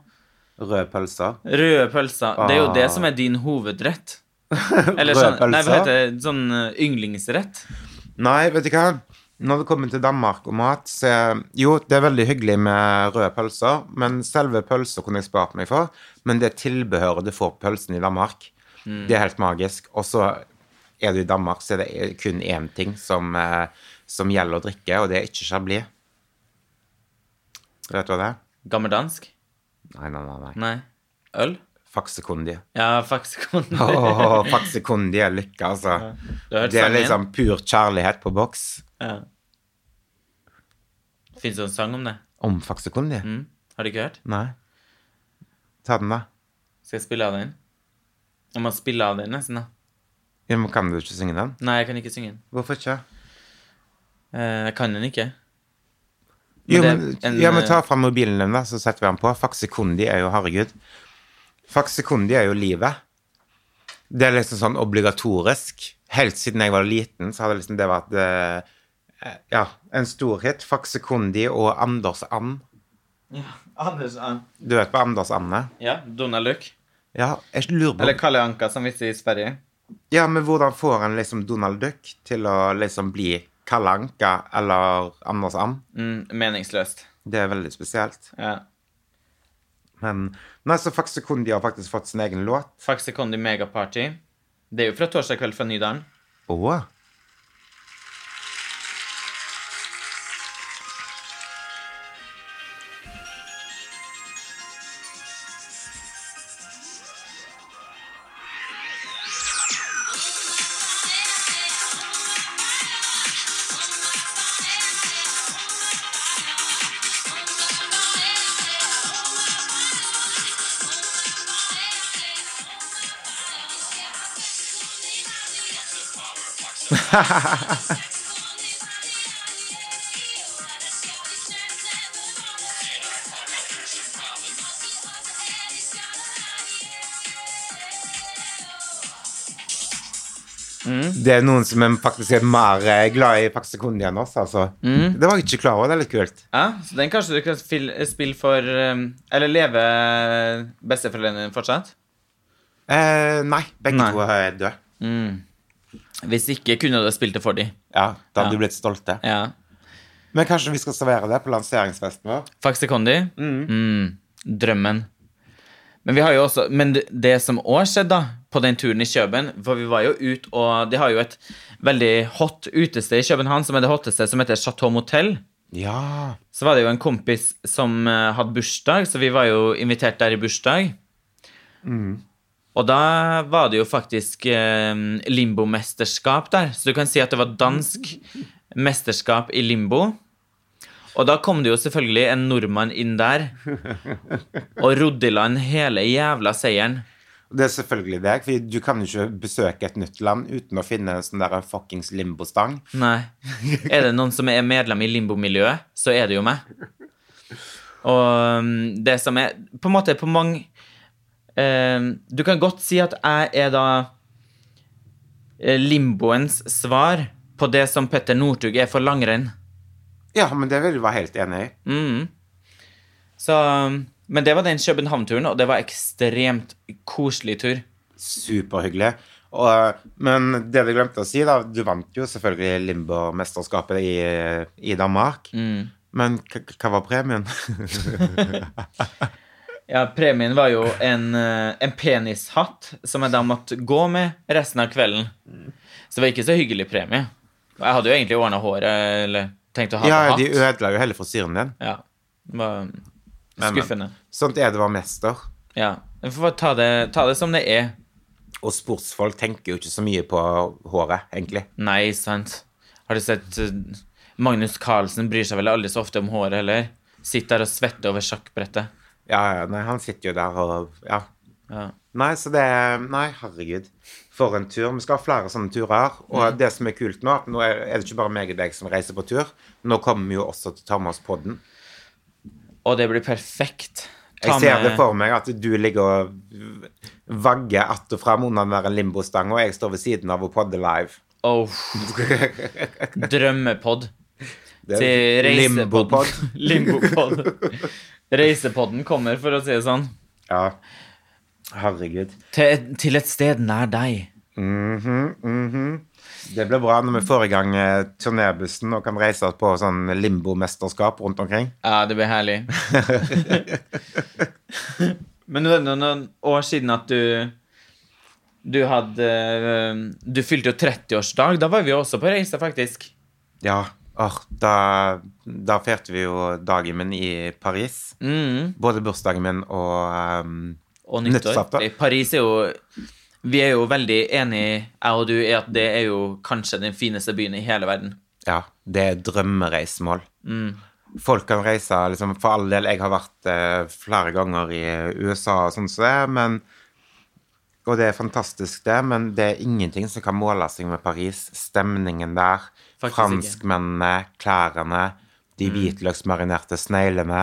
[SPEAKER 2] Røde pølser.
[SPEAKER 1] røde pølser. Det er jo
[SPEAKER 2] Ah.
[SPEAKER 1] det som er din
[SPEAKER 2] <laughs>
[SPEAKER 1] hovedrett. Eller
[SPEAKER 2] Røde
[SPEAKER 1] sånn, nei, hva
[SPEAKER 2] pølser?
[SPEAKER 1] heter det? Sånn eh, yndlingsrett.
[SPEAKER 2] Nei, vet du hva? Når det kommer til Danmark og mat, så er- Jo, det er veldig hyggelig med røde pølser, men selve pølser kunne jeg spart meg for. Men det tilbehøret du får på pølsen i Danmark, det er helt magisk. Og så er du i Danmark, så er det kun én ting som, eh, som gjelder å drikke, og det er ikke chablis. Vet du hva det er?
[SPEAKER 1] Gammeldansk?
[SPEAKER 2] Nei, nei, nei. nei.
[SPEAKER 1] Nei. Øl?
[SPEAKER 2] Faksekundi.
[SPEAKER 1] Ja, <laughs> faksikon.
[SPEAKER 2] <laughs> Åh, faksekundi er lykke, altså.
[SPEAKER 1] Du har hørt
[SPEAKER 2] Det er
[SPEAKER 1] sangen?
[SPEAKER 2] liksom pur kjærlighet på boks.
[SPEAKER 1] Ja. Fins det en sang om det?
[SPEAKER 2] Om faksekundi?
[SPEAKER 1] Mm. Har du ikke hørt?
[SPEAKER 2] Nei. Ta den, da.
[SPEAKER 1] Skal jeg spille av den? Jeg må spille av den nesten, da.
[SPEAKER 2] Ja, men kan du ikke synge den?
[SPEAKER 1] Nei, jeg kan ikke synge den.
[SPEAKER 2] Hvorfor ikke?
[SPEAKER 1] Eh, Jeg kan den ikke. Men
[SPEAKER 2] Jo,
[SPEAKER 1] det er
[SPEAKER 2] men,
[SPEAKER 1] en- eh,
[SPEAKER 2] ja, men ta fram mobilen din, da, så setter vi den på. Faksekundi er jo herregud. Faksekundi er jo livet. Det er liksom sånn obligatorisk. Helt siden jeg var liten, så hadde liksom det vært eh, ja, en storhet. Faksekundi og Anders And.
[SPEAKER 1] Anders Ann.
[SPEAKER 2] Du vet på Anders Anne?
[SPEAKER 1] Ja, Donald Duck.
[SPEAKER 2] Ja, jeg lurer på
[SPEAKER 1] Eller Kalle Anka, som vi sier i Sverige.
[SPEAKER 2] Ja, men hvordan får en liksom Donald Duck til å liksom bli Kalle Anka eller Anders And?
[SPEAKER 1] Mm, meningsløst.
[SPEAKER 2] Det er veldig spesielt.
[SPEAKER 1] Ja.
[SPEAKER 2] Men altså, nei, så Faksekundi har faktisk fått sin egen låt.
[SPEAKER 1] Faxikondi Megaparty. Det er jo fra torsdag kveld fra Nydalen.
[SPEAKER 2] Åh. Det er noen som er faktisk er mer eh, glad i Faksekundi enn oss, altså. Det var jeg ikke klar over. Det er litt kult.
[SPEAKER 1] Ja, så den kanskje du kan fil- spille for um, Eller leve eh, besteforeldrene dine fortsatt?
[SPEAKER 2] Eh, nei, begge
[SPEAKER 1] Nei.
[SPEAKER 2] to er døde.
[SPEAKER 1] Hvis ikke kunne du ha spilt det for dem.
[SPEAKER 2] Ja, da
[SPEAKER 1] Ja.
[SPEAKER 2] hadde du blitt stolte.
[SPEAKER 1] Ja.
[SPEAKER 2] Men kanskje vi skal servere det på lanseringsfesten vår?
[SPEAKER 1] Faxikondi? Mm. Drømmen. Men vi har jo også Men det, det som òg skjedde, da, på den turen i Kjøben For vi var jo ut og De har jo et veldig hot utested i København, som er det hotteste, som heter Chateau Motel.
[SPEAKER 2] Ja.
[SPEAKER 1] så var det jo en kompis som eh, hadde bursdag, så vi var jo invitert der i bursdag. Og da var det jo faktisk eh, limbomesterskap der, så du kan si at det var dansk mesterskap i limbo. Og da kom det jo selvfølgelig en nordmann inn der og rodde i land hele jævla seieren.
[SPEAKER 2] Det er selvfølgelig deg, for du kan jo ikke besøke et nytt land uten å finne en sånn der fuckings limbostang.
[SPEAKER 1] Nei. Er det noen som er medlem i limbomiljøet, så er det jo meg. Og um, det som er På en måte på mange eh, Du kan godt si at jeg er da eh, limboens svar på det som Petter Northug er for langrenn.
[SPEAKER 2] Ja, men det vil du være helt enig i.
[SPEAKER 1] Mm. Så um, Men det var den København-turen, og det var ekstremt koselig tur.
[SPEAKER 2] Superhyggelig. Og, eh, men det du glemte å si, da Du vant jo selvfølgelig Limbo-mesterskapet i, i Danmark. Men k k- hva var premien?
[SPEAKER 1] Ja, premien var jo en, eh, en penishatt som jeg da måtte gå med resten av kvelden. Så det var ikke så hyggelig premie. Og Jeg hadde jo egentlig ordna håret eller tenkt å ha
[SPEAKER 2] <laughs> ja,
[SPEAKER 1] på
[SPEAKER 2] de
[SPEAKER 1] hatt.
[SPEAKER 2] ødela jo hele frisyren din.
[SPEAKER 1] Ja, det var
[SPEAKER 2] men.
[SPEAKER 1] skuffende.
[SPEAKER 2] Sånt er det å være mester.
[SPEAKER 1] Ja. Vi får bare ta det, ta det som det er.
[SPEAKER 2] Og sportsfolk tenker jo ikke så mye på håret, egentlig.
[SPEAKER 1] Nei, sant. Har du sett eh, Magnus Carlsen bryr seg vel aldri så ofte om håret heller. Sitter der og svetter over sjakkbrettet.
[SPEAKER 2] Ja, ja, nei, han sitter jo der og Ja.
[SPEAKER 1] Ja.
[SPEAKER 2] Nei, så det er- Nei, herregud. For en tur. Vi skal ha flere sånne turer. Og det som er kult nå, at nå er er det ikke bare meg og deg som reiser på tur. Nå kommer vi jo også til å ta med oss podden.
[SPEAKER 1] Og det blir perfekt. Ta
[SPEAKER 2] Jeg ser
[SPEAKER 1] med-
[SPEAKER 2] det for meg at du ligger og vagger att og fram under den der limbostangen, og jeg står ved siden av og podder live. <laughs>
[SPEAKER 1] Oh. Drømmepod.
[SPEAKER 2] Det
[SPEAKER 1] Til
[SPEAKER 2] er
[SPEAKER 1] reisepodden. <laughs>
[SPEAKER 2] <laughs> limbopod.
[SPEAKER 1] Limbopod. Reisepodden kommer, for å si det sånn.
[SPEAKER 2] Ja. Herregud.
[SPEAKER 1] Til, til et sted nær deg.
[SPEAKER 2] Mhm, mhm. Det blir bra når vi får i gang eh, turnébussen og kan reise på sånn limbomesterskap rundt omkring.
[SPEAKER 1] Ja, det blir <laughs> herlig. Men det er noen år siden at du Du hadde eh, Du fylte jo 30-årsdag. Da var vi jo også på reise, faktisk.
[SPEAKER 2] Ja, åh, da, da feirte vi jo dagen min i Paris.
[SPEAKER 1] Mm.
[SPEAKER 2] Både bursdagen min og ehm,
[SPEAKER 1] Og nyttår.
[SPEAKER 2] Nyttårsaften.
[SPEAKER 1] Paris er jo Vi er jo veldig enige, jeg og du, i at det er jo kanskje den fineste byen i hele verden.
[SPEAKER 2] Ja, det er drømmereisemål.
[SPEAKER 1] Mm.
[SPEAKER 2] Folk kan reise liksom, For all del, jeg har vært eh, flere ganger i USA og sånn som det, men Og det er fantastisk, det, men det er ingenting som kan måle seg med Paris. Stemningen der,
[SPEAKER 1] Faktisk Mm.
[SPEAKER 2] franskmennene, klærne, de hvitløksmarinerte sneglene,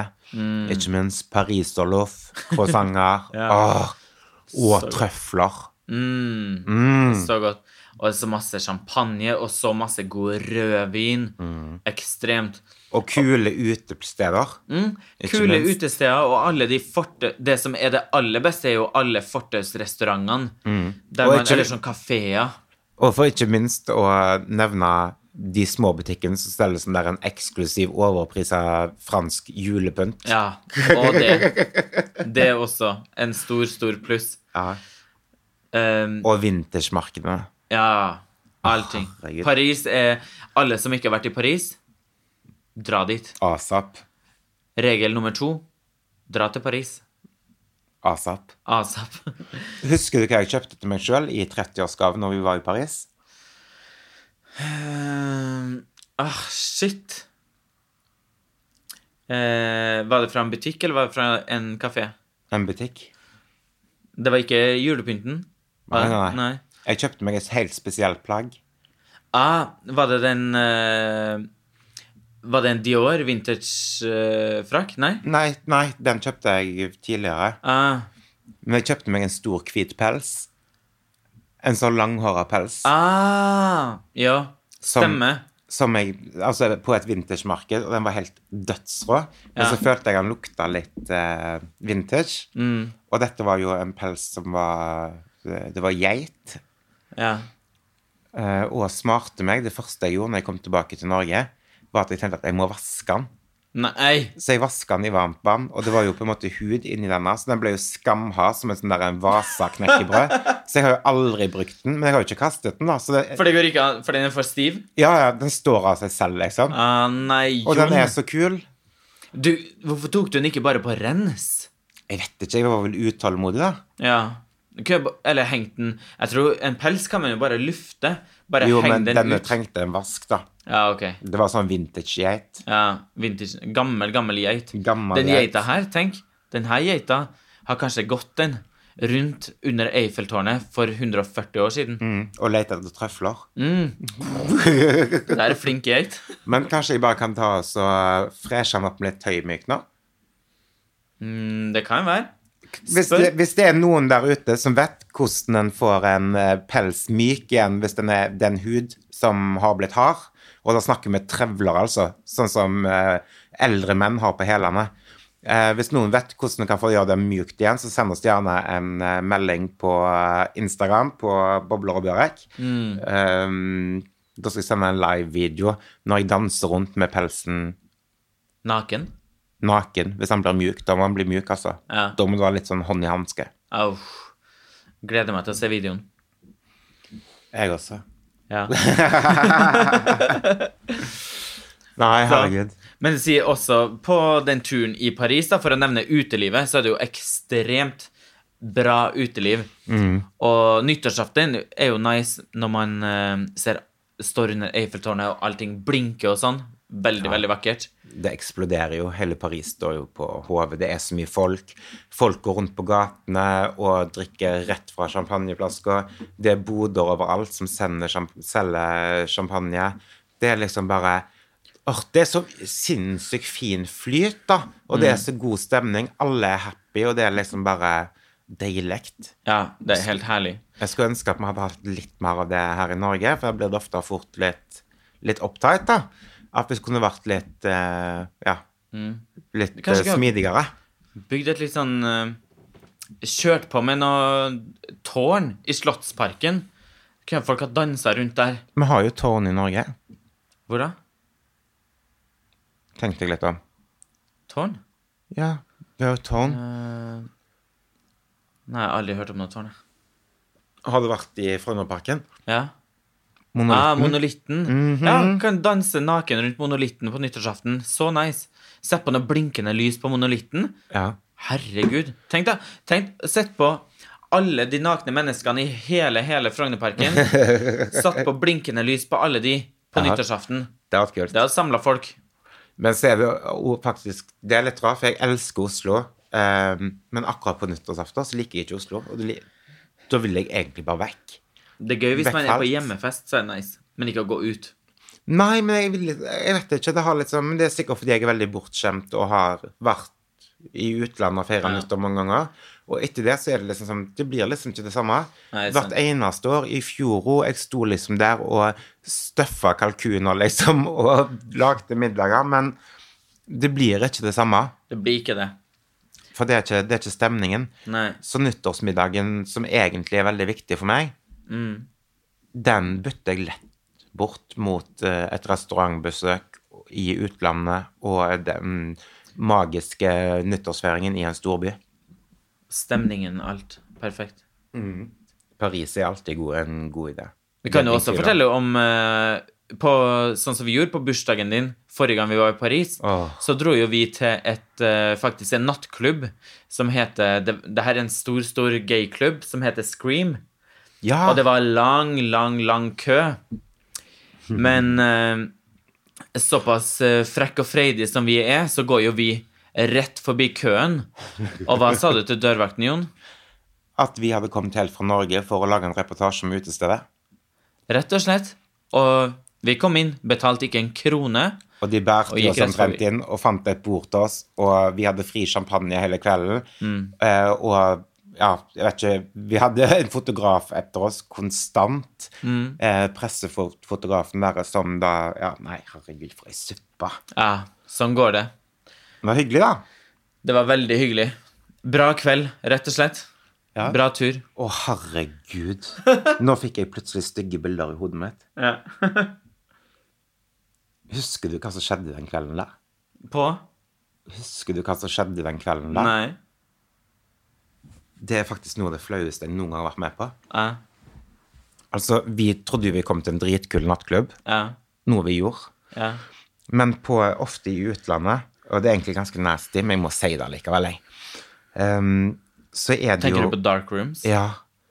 [SPEAKER 2] ikke minst pariserloff,
[SPEAKER 1] <laughs>
[SPEAKER 2] croissanter Åh, og trøfler.
[SPEAKER 1] Mm.
[SPEAKER 2] Mm.
[SPEAKER 1] Så godt. Og så masse champagne, og så masse god rødvin.
[SPEAKER 2] Mm.
[SPEAKER 1] Ekstremt.
[SPEAKER 2] Og kule utesteder.
[SPEAKER 1] Mm.
[SPEAKER 2] Ikke
[SPEAKER 1] Kule
[SPEAKER 2] minst.
[SPEAKER 1] utesteder, og alle de forte, det som er det aller beste, er jo alle fortausrestaurantene. Der
[SPEAKER 2] Mm. Og
[SPEAKER 1] man-
[SPEAKER 2] ikke-
[SPEAKER 1] Eller sånn kafeer.
[SPEAKER 2] Og for ikke minst å nevne de små butikkene som selger sånn der en eksklusiv overprisa fransk julepynt. <laughs>
[SPEAKER 1] Ja. Og det. Det er også en stor, stor pluss.
[SPEAKER 2] Ja.
[SPEAKER 1] Um,
[SPEAKER 2] Og vintage-markedene.
[SPEAKER 1] ja. Allting.
[SPEAKER 2] Ah, herregud.
[SPEAKER 1] Paris er Alle som ikke har vært i Paris, dra dit.
[SPEAKER 2] ASAP.
[SPEAKER 1] Regel nummer to dra til Paris.
[SPEAKER 2] ASAP.
[SPEAKER 1] ASAP.
[SPEAKER 2] Husker du hva jeg kjøpte til meg sjøl i 30-årsgave når vi var i Paris?
[SPEAKER 1] Ehm, ah, shit. Eh, var det fra en butikk, eller var det fra en kafé?
[SPEAKER 2] En butikk.
[SPEAKER 1] Det var ikke julepynten? Var
[SPEAKER 2] Nei,
[SPEAKER 1] det-
[SPEAKER 2] nei, nei. Jeg kjøpte meg et helt spesielt plagg.
[SPEAKER 1] Ah, var det den eh, Var det en Dior vintage-frakk? nei?
[SPEAKER 2] Nei, nei, den kjøpte jeg tidligere.
[SPEAKER 1] Ah,
[SPEAKER 2] Men jeg kjøpte meg en stor, hvit pels. En sånn langhåra pels.
[SPEAKER 1] ah, ja.
[SPEAKER 2] Som-
[SPEAKER 1] Stemmer.
[SPEAKER 2] som jeg, altså på et vintage-marked, og den var helt dødsrå. Men
[SPEAKER 1] Ja.
[SPEAKER 2] så følte jeg han lukta litt eh, vintage.
[SPEAKER 1] Mm.
[SPEAKER 2] Og dette var jo en pels som var eh, Det var geit.
[SPEAKER 1] Ja.
[SPEAKER 2] eh, og smarte meg. Det første jeg gjorde når jeg kom tilbake til Norge, var at jeg tenkte at jeg må vaske den.
[SPEAKER 1] Nei,
[SPEAKER 2] Så jeg vaska den i varmt vann, og det var jo på en måte hud inni denne, så den ble jo skamhard som en sånn der en vasa knekkebrød. Så jeg har jo aldri brukt den, men jeg har jo ikke kastet den, da. Så det,
[SPEAKER 1] for det går ikke an, for den er for stiv?
[SPEAKER 2] ja, ja, den står av seg selv, liksom.
[SPEAKER 1] Ah, nei,
[SPEAKER 2] Og den
[SPEAKER 1] Jon.
[SPEAKER 2] er så kul.
[SPEAKER 1] Du, hvorfor tok du den ikke bare på rens?
[SPEAKER 2] Jeg vet ikke, jeg var vel utålmodig, da.
[SPEAKER 1] Ja. Du kan jo ba- Eller hengt den Jeg tror En pels kan man jo bare lufte. Bare
[SPEAKER 2] Jo,
[SPEAKER 1] heng
[SPEAKER 2] men
[SPEAKER 1] den
[SPEAKER 2] denne
[SPEAKER 1] ut.
[SPEAKER 2] trengte en vask, da.
[SPEAKER 1] Ja, ok.
[SPEAKER 2] Det var sånn vintage-geit.
[SPEAKER 1] Ja, vintage. Gammel, gammel geit.
[SPEAKER 2] Gammel
[SPEAKER 1] Den
[SPEAKER 2] geit.
[SPEAKER 1] geita her, tenk. Den her geita har kanskje gått den rundt under Eiffeltårnet for 140 år siden.
[SPEAKER 2] Mm, og lette etter trøfler.
[SPEAKER 1] Mm.
[SPEAKER 2] <laughs>
[SPEAKER 1] Det der er flink geit.
[SPEAKER 2] Men kanskje jeg bare kan ta og så freshe den opp med litt tøymyk nå?
[SPEAKER 1] Mm, det kan jo være.
[SPEAKER 2] Hvis
[SPEAKER 1] Spør.
[SPEAKER 2] det, hvis det er noen der ute som vet hvordan en får en eh, pels myk igjen hvis den er den hud som har blitt hard, og da snakker vi trevler, altså, sånn som eh, eldre menn har på hælene eh, Hvis noen vet hvordan en kan få gjøre det mykt igjen, så send oss gjerne en eh, melding på eh, Instagram på Bobler og Bjørek.
[SPEAKER 1] Mm.
[SPEAKER 2] Eh, da skal jeg sende en live-video når jeg danser rundt med pelsen
[SPEAKER 1] Naken.
[SPEAKER 2] naken. Hvis den blir mjuk, da må den bli mjuk, altså.
[SPEAKER 1] Ja.
[SPEAKER 2] Da må du ha litt sånn hånd i hanske.
[SPEAKER 1] Au. Gleder meg til å se videoen.
[SPEAKER 2] Jeg også.
[SPEAKER 1] Ja.
[SPEAKER 2] Nei,
[SPEAKER 1] Så-
[SPEAKER 2] herregud.
[SPEAKER 1] Men det sier også, på den turen i Paris, da, for å nevne utelivet, så er det jo ekstremt bra uteliv. Og nyttårsaften er jo nice når man eh, ser, står under Eiffeltårnet, og allting blinker og sånn. Veldig, veldig vakkert.
[SPEAKER 2] Det eksploderer jo. Hele Paris står jo på hodet. Det er så mye folk. Folk går rundt på gatene og drikker rett fra champagneflasker. Det er boder overalt som sender, champ- selger champagne. Det er liksom bare Åh, det er så sinnssykt fin flyt, da. Og det er så god stemning. Alle er happy, og det er liksom bare deilig.
[SPEAKER 1] Ja, det er helt herlig.
[SPEAKER 2] Jeg skulle ønske at vi hadde hatt litt mer av det her i Norge, for da blir det ofte fort litt, litt opptatt, da. At vi kunne vært litt eh, ja, litt
[SPEAKER 1] Kanskje
[SPEAKER 2] eh,
[SPEAKER 1] ikke-
[SPEAKER 2] smidigere.
[SPEAKER 1] Bygd et litt sånn eh, Kjørt på med noe tårn i Slottsparken. Kunne folk ha dansa rundt der?
[SPEAKER 2] Vi har jo tårn i Norge,
[SPEAKER 1] Hvor da?
[SPEAKER 2] tenkte jeg litt om.
[SPEAKER 1] Tårn?
[SPEAKER 2] Ja, vi har jo tårn.
[SPEAKER 1] Eh, nei, jeg har aldri hørt om noe tårn. jeg.
[SPEAKER 2] Har du vært i Frognerparken?
[SPEAKER 1] Ja. Ah,
[SPEAKER 2] Monolitten. Mhm.
[SPEAKER 1] monolitten. Ja, kan danse naken rundt monolitten på nyttårsaften. Så nice. Sett på noe blinkende lys på monolitten.
[SPEAKER 2] Ja.
[SPEAKER 1] Herregud. Tenk da, tenk, sett på alle de nakne menneskene i hele, hele
[SPEAKER 2] <laughs>
[SPEAKER 1] Frognerparken. Satt på blinkende lys på alle de på
[SPEAKER 2] Ja.
[SPEAKER 1] nyttårsaften.
[SPEAKER 2] Det har vært kult.
[SPEAKER 1] Det hadde samla folk.
[SPEAKER 2] Men så er det jo faktisk Det er litt rart, for jeg elsker Oslo. ehm, men akkurat på nyttårsaften så liker jeg ikke Oslo. Og det, li- da vil jeg egentlig bare vekk.
[SPEAKER 1] Det er gøy hvis man er på
[SPEAKER 2] Vekkfelt.
[SPEAKER 1] hjemmefest, så er det nice. Men ikke å gå ut.
[SPEAKER 2] Nei, men jeg, vil, jeg vet ikke. Det, har litt sånn, men det er sikkert fordi jeg er veldig bortskjemt og har vært i utlandet og feira
[SPEAKER 1] Ja.
[SPEAKER 2] nyttår mange ganger. Og etter det så er det liksom sånn Det blir liksom ikke det samme.
[SPEAKER 1] Nei, det er sant.
[SPEAKER 2] Hvert eneste år i fjor òg. Jeg sto liksom der og støffa kalkuner, liksom, og lagde middager. Men det blir ikke det samme.
[SPEAKER 1] Det blir ikke det.
[SPEAKER 2] For det er ikke, det er ikke stemningen.
[SPEAKER 1] Nei.
[SPEAKER 2] Så nyttårsmiddagen, som egentlig er veldig viktig for meg,
[SPEAKER 1] Mm.
[SPEAKER 2] den bytter jeg lett bort mot eh, et restaurantbesøk i utlandet og den magiske nyttårsfeiringen i en storby.
[SPEAKER 1] Stemningen, alt. Perfekt.
[SPEAKER 2] Paris er alltid god, en god idé.
[SPEAKER 1] Vi kan jo
[SPEAKER 2] Det er
[SPEAKER 1] også
[SPEAKER 2] ikke tvil om.
[SPEAKER 1] fortelle om eh, på, Sånn som vi gjorde på bursdagen din forrige gang vi var i Paris,
[SPEAKER 2] Åh.
[SPEAKER 1] så dro jo vi til et, eh, faktisk en nattklubb som heter det, det her er en stor, stor gayklubb som heter Scream.
[SPEAKER 2] Ja,
[SPEAKER 1] Og det var lang, lang, lang kø. Men eh, såpass eh, frekk og freidig som vi er, så går jo vi rett forbi køen. Og hva sa du til dørvakten, Jon?
[SPEAKER 2] At vi hadde kommet helt fra Norge for å lage en reportasje om utestedet.
[SPEAKER 1] Rett og slett. Og vi kom inn, betalte ikke en krone.
[SPEAKER 2] Og de bærte
[SPEAKER 1] Og gikk
[SPEAKER 2] oss
[SPEAKER 1] rett forbi.
[SPEAKER 2] omtrent inn og fant et bord til oss, og vi hadde fri champagne hele kvelden.
[SPEAKER 1] Mm.
[SPEAKER 2] Eh, og ja, jeg vet ikke Vi hadde <laughs> en fotograf etter oss konstant.
[SPEAKER 1] Mm.
[SPEAKER 2] Eh, pressefotografen der som da Ja, nei, herregud, for ei suppe.
[SPEAKER 1] Ja, sånn går det.
[SPEAKER 2] Det var hyggelig, da.
[SPEAKER 1] Det var veldig hyggelig. Bra kveld, rett og slett.
[SPEAKER 2] Ja.
[SPEAKER 1] Bra tur.
[SPEAKER 2] Å, herregud.
[SPEAKER 1] <laughs>
[SPEAKER 2] Nå fikk jeg plutselig stygge bilder i hodet mitt. Husker du hva som skjedde den kvelden der?
[SPEAKER 1] På?
[SPEAKER 2] Husker du hva som skjedde den kvelden der?
[SPEAKER 1] Nei.
[SPEAKER 2] Det er faktisk noe av det flaueste jeg noen gang har vært med på.
[SPEAKER 1] Ja.
[SPEAKER 2] Altså, vi trodde jo vi kom til en dritkul nattklubb,
[SPEAKER 1] Ja.
[SPEAKER 2] noe vi gjorde.
[SPEAKER 1] ja.
[SPEAKER 2] Men på, ofte i utlandet, og det er egentlig ganske nasty, men jeg må si det likevel, jeg. Ehm, så er det
[SPEAKER 1] Tenker
[SPEAKER 2] jo
[SPEAKER 1] du på Mm. dark rooms?
[SPEAKER 2] Ja.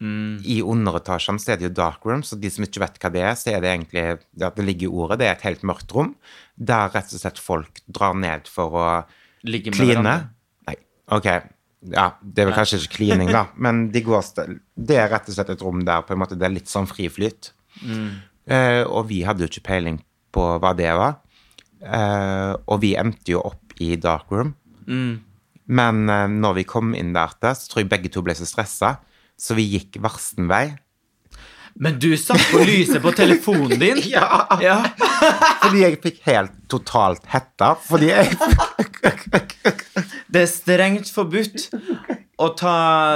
[SPEAKER 2] I underetasjene så er det jo dark rooms, og de som ikke vet hva det er, så er det egentlig ja, Det ligger i ordet, det er et helt mørkt rom der rett og slett folk drar ned for å
[SPEAKER 1] Ligge med
[SPEAKER 2] kline.
[SPEAKER 1] hverandre?
[SPEAKER 2] Nei, OK. Ja, det er vel kanskje ikke klining, da, men de går sted. det er rett og slett et rom der på en måte det er litt sånn fri flyt. Eh, og vi hadde jo ikke peiling på hva det var. Eh, og vi endte jo opp i dark room. Men eh, når vi kom inn der, til, så tror jeg begge to ble så stressa, så vi gikk varsten vei.
[SPEAKER 1] Men du satt på lyset på telefonen
[SPEAKER 2] <laughs>
[SPEAKER 1] din!
[SPEAKER 2] Ja.
[SPEAKER 1] Ja.
[SPEAKER 2] Fordi jeg fikk helt totalt hetta. Fordi jeg
[SPEAKER 1] Det er strengt forbudt å ta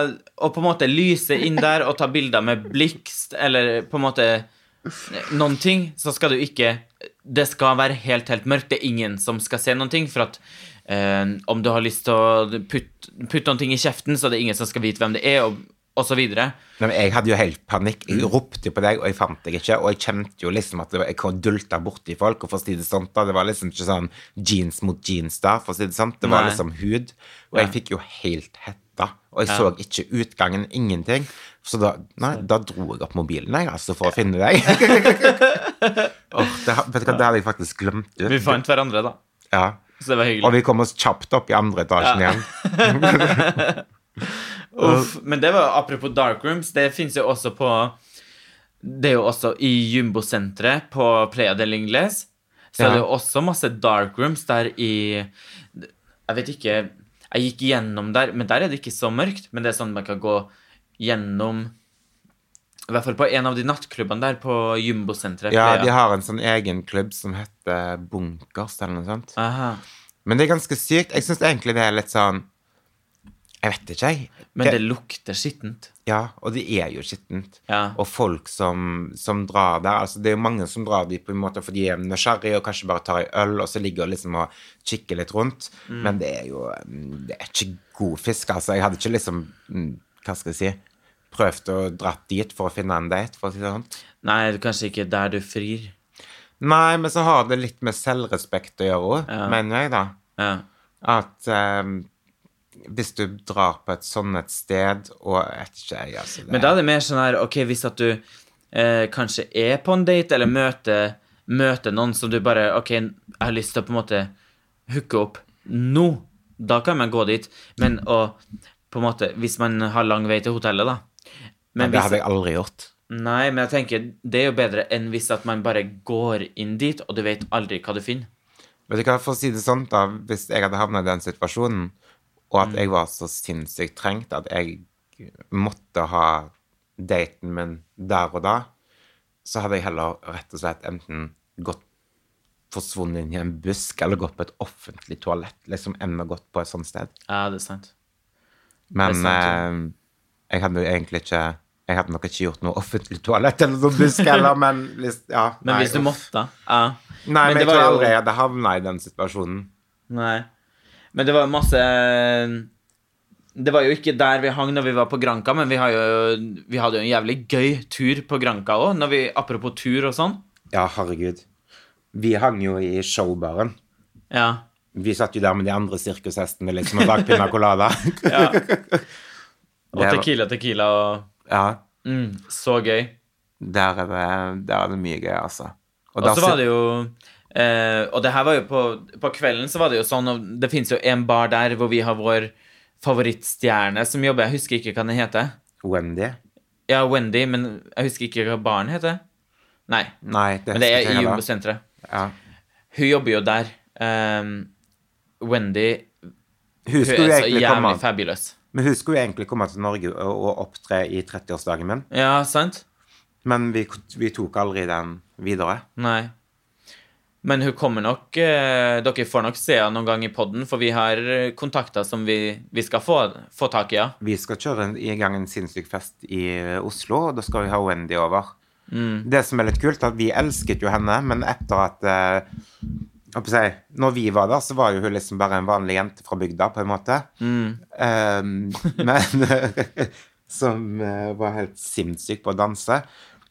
[SPEAKER 1] Å på en måte lyse inn der og ta bilder med blikst eller på en måte noen ting, så skal du ikke Det skal være helt, helt mørkt. Det er ingen som skal se noen ting. For at eh, om du har lyst til å putte putt noen ting i kjeften, så er det ingen som skal vite hvem det er, og, og så videre.
[SPEAKER 2] Nei, men Jeg hadde jo helt panikk. Jeg ropte på deg, og jeg fant deg ikke. Og jeg kjente jo liksom at det var, jeg kom dulta borti folk. Og for å si det sånt da, Det var liksom ikke sånn jeans mot jeans, da, for å si det sånt. Det var
[SPEAKER 1] Nei.
[SPEAKER 2] liksom hud. Og jeg fikk jo helt hetta. Og jeg så ikke utgangen, ingenting. Så da, nei, da dro jeg opp mobilen, jeg, altså, for å finne deg. Åh, det, ha- vet du hva, det hadde jeg faktisk glemt ut.
[SPEAKER 1] Vi fant hverandre, da.
[SPEAKER 2] Ja.
[SPEAKER 1] Så det var
[SPEAKER 2] Og
[SPEAKER 1] hyggelig.
[SPEAKER 2] vi kom oss kjapt opp i andre etasjen igjen.
[SPEAKER 1] Uff, men det var apropos dark rooms. Det fins jo også på Det er jo også i Jumbo-senteret på Playa del Ingles. Så
[SPEAKER 2] Ja.
[SPEAKER 1] er det jo også masse dark rooms der i Jeg vet ikke Jeg gikk gjennom der, men der er det ikke så mørkt. Men det er sånn man kan gå gjennom I hvert fall på en av de nattklubbene der på Jumbo-senteret. <laughs>
[SPEAKER 2] Ja,
[SPEAKER 1] Playa.
[SPEAKER 2] de har en sånn egen klubb som heter Bunkers, eller noe sånt.
[SPEAKER 1] Aha.
[SPEAKER 2] Men det er ganske sykt. Jeg syns egentlig det er litt sånn Jeg vet ikke, jeg.
[SPEAKER 1] Men det lukter skittent.
[SPEAKER 2] Ja, og det er jo skittent.
[SPEAKER 1] Ja.
[SPEAKER 2] Og folk som, som drar der altså Det er jo mange som drar dit på en måte fordi de er nysgjerrige og kanskje bare tar en øl og så ligger og liksom og kikker litt rundt. Men det er jo mm, Det er ikke god fisk, altså. Jeg hadde ikke liksom mm, Hva skal jeg si Prøvd å dra dit for å finne en date, for å si det sånn.
[SPEAKER 1] Nei, kanskje ikke der du frir.
[SPEAKER 2] Nei, men så har det litt med selvrespekt å gjøre òg, mener jeg, da.
[SPEAKER 1] Ja.
[SPEAKER 2] At ehm, hvis du drar på et sånn et sted og Jeg vet ikke, jeg, altså. Det,
[SPEAKER 1] Men da er det mer sånn her Ok, hvis at du eh, kanskje er på en date, eller møter, møter noen som du bare Ok, jeg har lyst til å på en måte hooke opp nå. Da kan man gå dit. Men å på en måte Hvis man har lang vei til hotellet, da. Men
[SPEAKER 2] det
[SPEAKER 1] hvis,
[SPEAKER 2] hadde jeg aldri gjort.
[SPEAKER 1] Nei, men jeg tenker det er jo bedre enn hvis at man bare går inn dit, og du vet aldri hva du finner.
[SPEAKER 2] Vet du hva, for å si det sånn da, Hvis jeg hadde havnet i den situasjonen, og
[SPEAKER 1] Mm.
[SPEAKER 2] at jeg var så sinnssykt trengt at jeg måtte ha daten min der og da, så hadde jeg heller rett og slett enten gått forsvunnet inn i en busk eller gått på et offentlig toalett, liksom, enn å gått på et sånt sted.
[SPEAKER 1] Ja, det er sant.
[SPEAKER 2] Men
[SPEAKER 1] Det er sant,
[SPEAKER 2] eh, jeg hadde jo egentlig ikke Jeg hadde nok ikke gjort noe offentlig toalett eller noen busk heller, men hvis, ja,
[SPEAKER 1] Men hvis du
[SPEAKER 2] uff.
[SPEAKER 1] måtte, da. Ja.
[SPEAKER 2] Nei, men,
[SPEAKER 1] det
[SPEAKER 2] jeg tror
[SPEAKER 1] var jo-
[SPEAKER 2] aldri jeg hadde havnet i den situasjonen.
[SPEAKER 1] Nei. Men det var jo masse eh, Det var jo ikke der vi hang når vi var på Granka, men vi, har jo, vi hadde jo en jævlig gøy tur på Granka òg, apropos tur og sånn.
[SPEAKER 2] Ja, herregud. Vi hang jo i showbaren.
[SPEAKER 1] Ja.
[SPEAKER 2] Vi satt jo der med de andre sirkushestene liksom, og drakk pina <laughs> colada.
[SPEAKER 1] ja. Og
[SPEAKER 2] Det var-
[SPEAKER 1] Tequila Tequila og
[SPEAKER 2] ja,
[SPEAKER 1] mm, Så gøy.
[SPEAKER 2] der er, det, der er det mye gøy, altså.
[SPEAKER 1] Og så var det jo eh, Og det her var jo på, på kvelden, så var det jo sånn og Det fins jo en bar der hvor vi har vår favorittstjerne som jobber. Jeg husker ikke hva den heter.
[SPEAKER 2] Wendy.
[SPEAKER 1] Ja, Wendy, men jeg husker ikke hva baren heter. Nei.
[SPEAKER 2] Nei, det,
[SPEAKER 1] Men det er
[SPEAKER 2] husker
[SPEAKER 1] i
[SPEAKER 2] jeg ikke heller.
[SPEAKER 1] Jumbo-senteret.
[SPEAKER 2] Ja.
[SPEAKER 1] Hun jobber jo der. Ehm, Wendy
[SPEAKER 2] Hun
[SPEAKER 1] Hun er
[SPEAKER 2] skulle jo
[SPEAKER 1] så
[SPEAKER 2] egentlig
[SPEAKER 1] jævlig
[SPEAKER 2] komme,
[SPEAKER 1] fabulous.
[SPEAKER 2] men hun skulle jo egentlig komme til Norge og, og opptre i 30-årsdagen min.
[SPEAKER 1] Ja, sant?
[SPEAKER 2] Men vi, vi tok aldri den videre.
[SPEAKER 1] Nei. Men hun kommer nok eh, Dere får nok se henne noen gang i poden, for vi har eh, kontakter som vi, vi skal få, få tak i. Ja.
[SPEAKER 2] Vi skal kjøre en- i gang en sinnssyk fest i Oslo, og da skal vi ha Wendy over. Det som er litt kult, er at vi elsket jo henne, men etter at eh, hva skal jeg si, Når vi var der, så var jo hun liksom bare en vanlig jente fra bygda, på en måte. Eh, men <laughs> Som eh, var helt sinnssyk på å danse.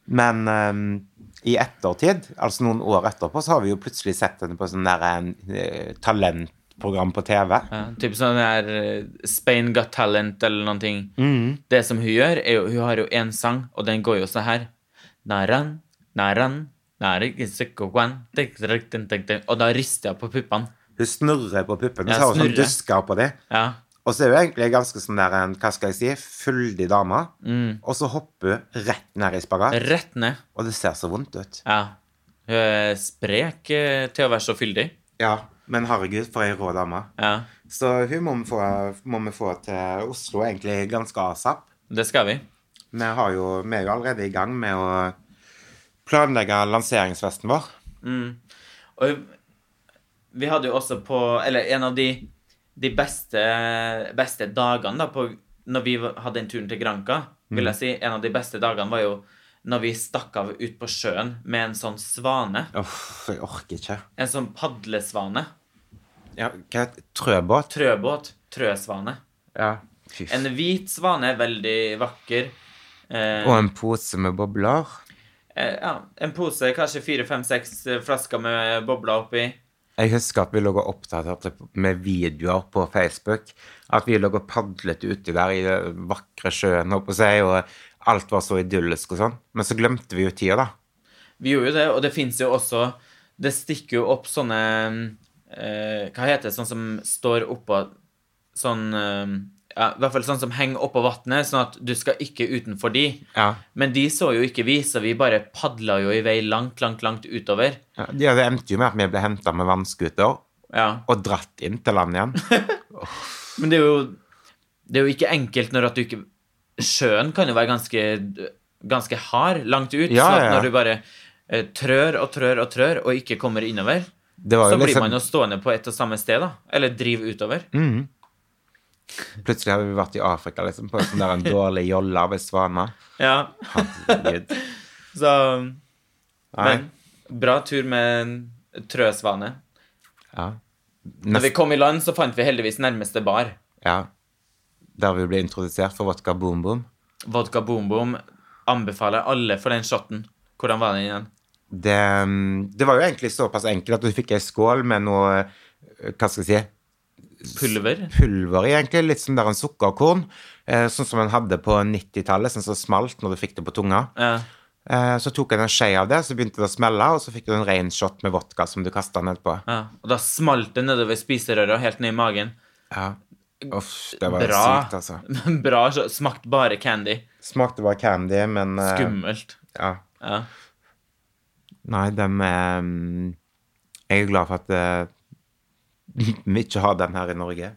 [SPEAKER 2] Men eh, i ettertid, altså noen år etterpå, så har vi jo plutselig sett henne på sånn derre eh, talentprogram på TV.
[SPEAKER 1] Ja, typ sånn her eh, Spain Got Talent eller noen ting.
[SPEAKER 2] Mm.
[SPEAKER 1] Det som hun gjør, er jo Hun har jo én sang, og den går jo sånn her. Naran, naran, narik, sikko, guan, tik, tik, tik, tik, tik. Og da rister jeg på puppene.
[SPEAKER 2] Hun snurrer på puppene,
[SPEAKER 1] Ja,
[SPEAKER 2] så har hun sånn
[SPEAKER 1] snurrer.
[SPEAKER 2] dusker på dem.
[SPEAKER 1] Ja.
[SPEAKER 2] Og så er hun egentlig ganske sånn der en, hva skal jeg si, fyldig dame.
[SPEAKER 1] Mm.
[SPEAKER 2] Og så hopper hun rett ned i spagat,
[SPEAKER 1] Rett ned.
[SPEAKER 2] og det ser så vondt ut.
[SPEAKER 1] Ja. Hun er sprek eh, til å være så fyldig.
[SPEAKER 2] Ja, men herregud, for ei rå dame.
[SPEAKER 1] Ja,
[SPEAKER 2] Så hun må vi, få, må vi få til Oslo egentlig ganske asap.
[SPEAKER 1] det skal vi.
[SPEAKER 2] Vi, har jo, vi er jo allerede i gang med å planlegge lanseringsfesten vår.
[SPEAKER 1] Og vi hadde jo også på Eller en av de, de beste, beste dagene da på, Når vi hadde den turen til Granca, vil jeg si, en av de beste dagene var jo når vi stakk av ut på sjøen med en sånn svane.
[SPEAKER 2] Uff, jeg orker ikke.
[SPEAKER 1] En sånn padlesvane.
[SPEAKER 2] Ja, hva heter det? Trøbåt?
[SPEAKER 1] Trøbåt. Trøsvane.
[SPEAKER 2] Ja. Fy
[SPEAKER 1] En
[SPEAKER 2] f-
[SPEAKER 1] hvit svane er veldig vakker. Eh,
[SPEAKER 2] Og en pose med bobler.
[SPEAKER 1] Eh, ja, en pose, kanskje fire, fem, seks eh, flasker med bobler oppi.
[SPEAKER 2] Jeg husker at vi lå og oppdaterte med videoer på Facebook. At vi lå og padlet uti der i den vakre sjøen, holdt på å si, og alt var så idyllisk og sånn. Men så glemte vi jo tida, da.
[SPEAKER 1] Vi gjorde jo det, og det fins jo også Det stikker jo opp sånne eh, Hva heter det? Sånn som står oppå Sånn eh, ja, I hvert fall sånn som henger oppå vannet, sånn at du skal ikke utenfor de.
[SPEAKER 2] Ja.
[SPEAKER 1] Men de så jo ikke vi, så vi bare padla jo i vei langt, langt, langt utover.
[SPEAKER 2] ja. Det endte jo med at vi ble henta med vannskuter
[SPEAKER 1] Ja.
[SPEAKER 2] og dratt inn til land igjen.
[SPEAKER 1] Men det er jo Det er jo ikke enkelt når at du ikke Sjøen kan jo være ganske Ganske hard langt ut,
[SPEAKER 2] Ja,
[SPEAKER 1] sånn at
[SPEAKER 2] ja, ja.
[SPEAKER 1] når du bare eh, trør og trør og trør og ikke kommer innover,
[SPEAKER 2] Det var
[SPEAKER 1] så
[SPEAKER 2] jo
[SPEAKER 1] blir
[SPEAKER 2] liksom Mm.
[SPEAKER 1] man jo stående på ett og samme sted, da. Eller drive utover.
[SPEAKER 2] Plutselig hadde vi vært i Afrika, liksom, på en sånn der en dårlig jolle ved Svana.
[SPEAKER 1] Ja.
[SPEAKER 2] Herregud.
[SPEAKER 1] Så
[SPEAKER 2] Nei.
[SPEAKER 1] Men bra tur med en trøsvane.
[SPEAKER 2] Ja.
[SPEAKER 1] Når vi
[SPEAKER 2] Nest,
[SPEAKER 1] kom i land, så fant vi heldigvis nærmeste bar.
[SPEAKER 2] ja. Der vi ble introdusert for vodka boom boom.
[SPEAKER 1] Vodka Boom Boom anbefaler alle for den shotten. Hvordan var den igjen?
[SPEAKER 2] Det, mm, det var jo egentlig såpass enkelt at du fikk ei skål med noe eh, Hva skal jeg si?
[SPEAKER 1] Pulver?
[SPEAKER 2] pulver, i, egentlig. Litt som der en sukkerkorn. Eh, sånn som en hadde på 90-tallet, sånn som smalt når du fikk det på tunga.
[SPEAKER 1] Ja.
[SPEAKER 2] Eh, så tok en en skje av det, så begynte det å smelle, og så fikk du en ren shot med vodka som du kasta nedpå.
[SPEAKER 1] ja. Og da smalt det nedover spiserøret og helt ned i magen. <laughs>
[SPEAKER 2] Ja. Uff, det var
[SPEAKER 1] Bra.
[SPEAKER 2] sykt, altså.
[SPEAKER 1] Bra. så- Smakt bare candy.
[SPEAKER 2] Smakte bare candy, men eh,
[SPEAKER 1] Skummelt.
[SPEAKER 2] Ja.
[SPEAKER 1] Ja.
[SPEAKER 2] Nei, dem eh, Jeg er glad for at eh, <laughs> vi ikke har den her i Norge.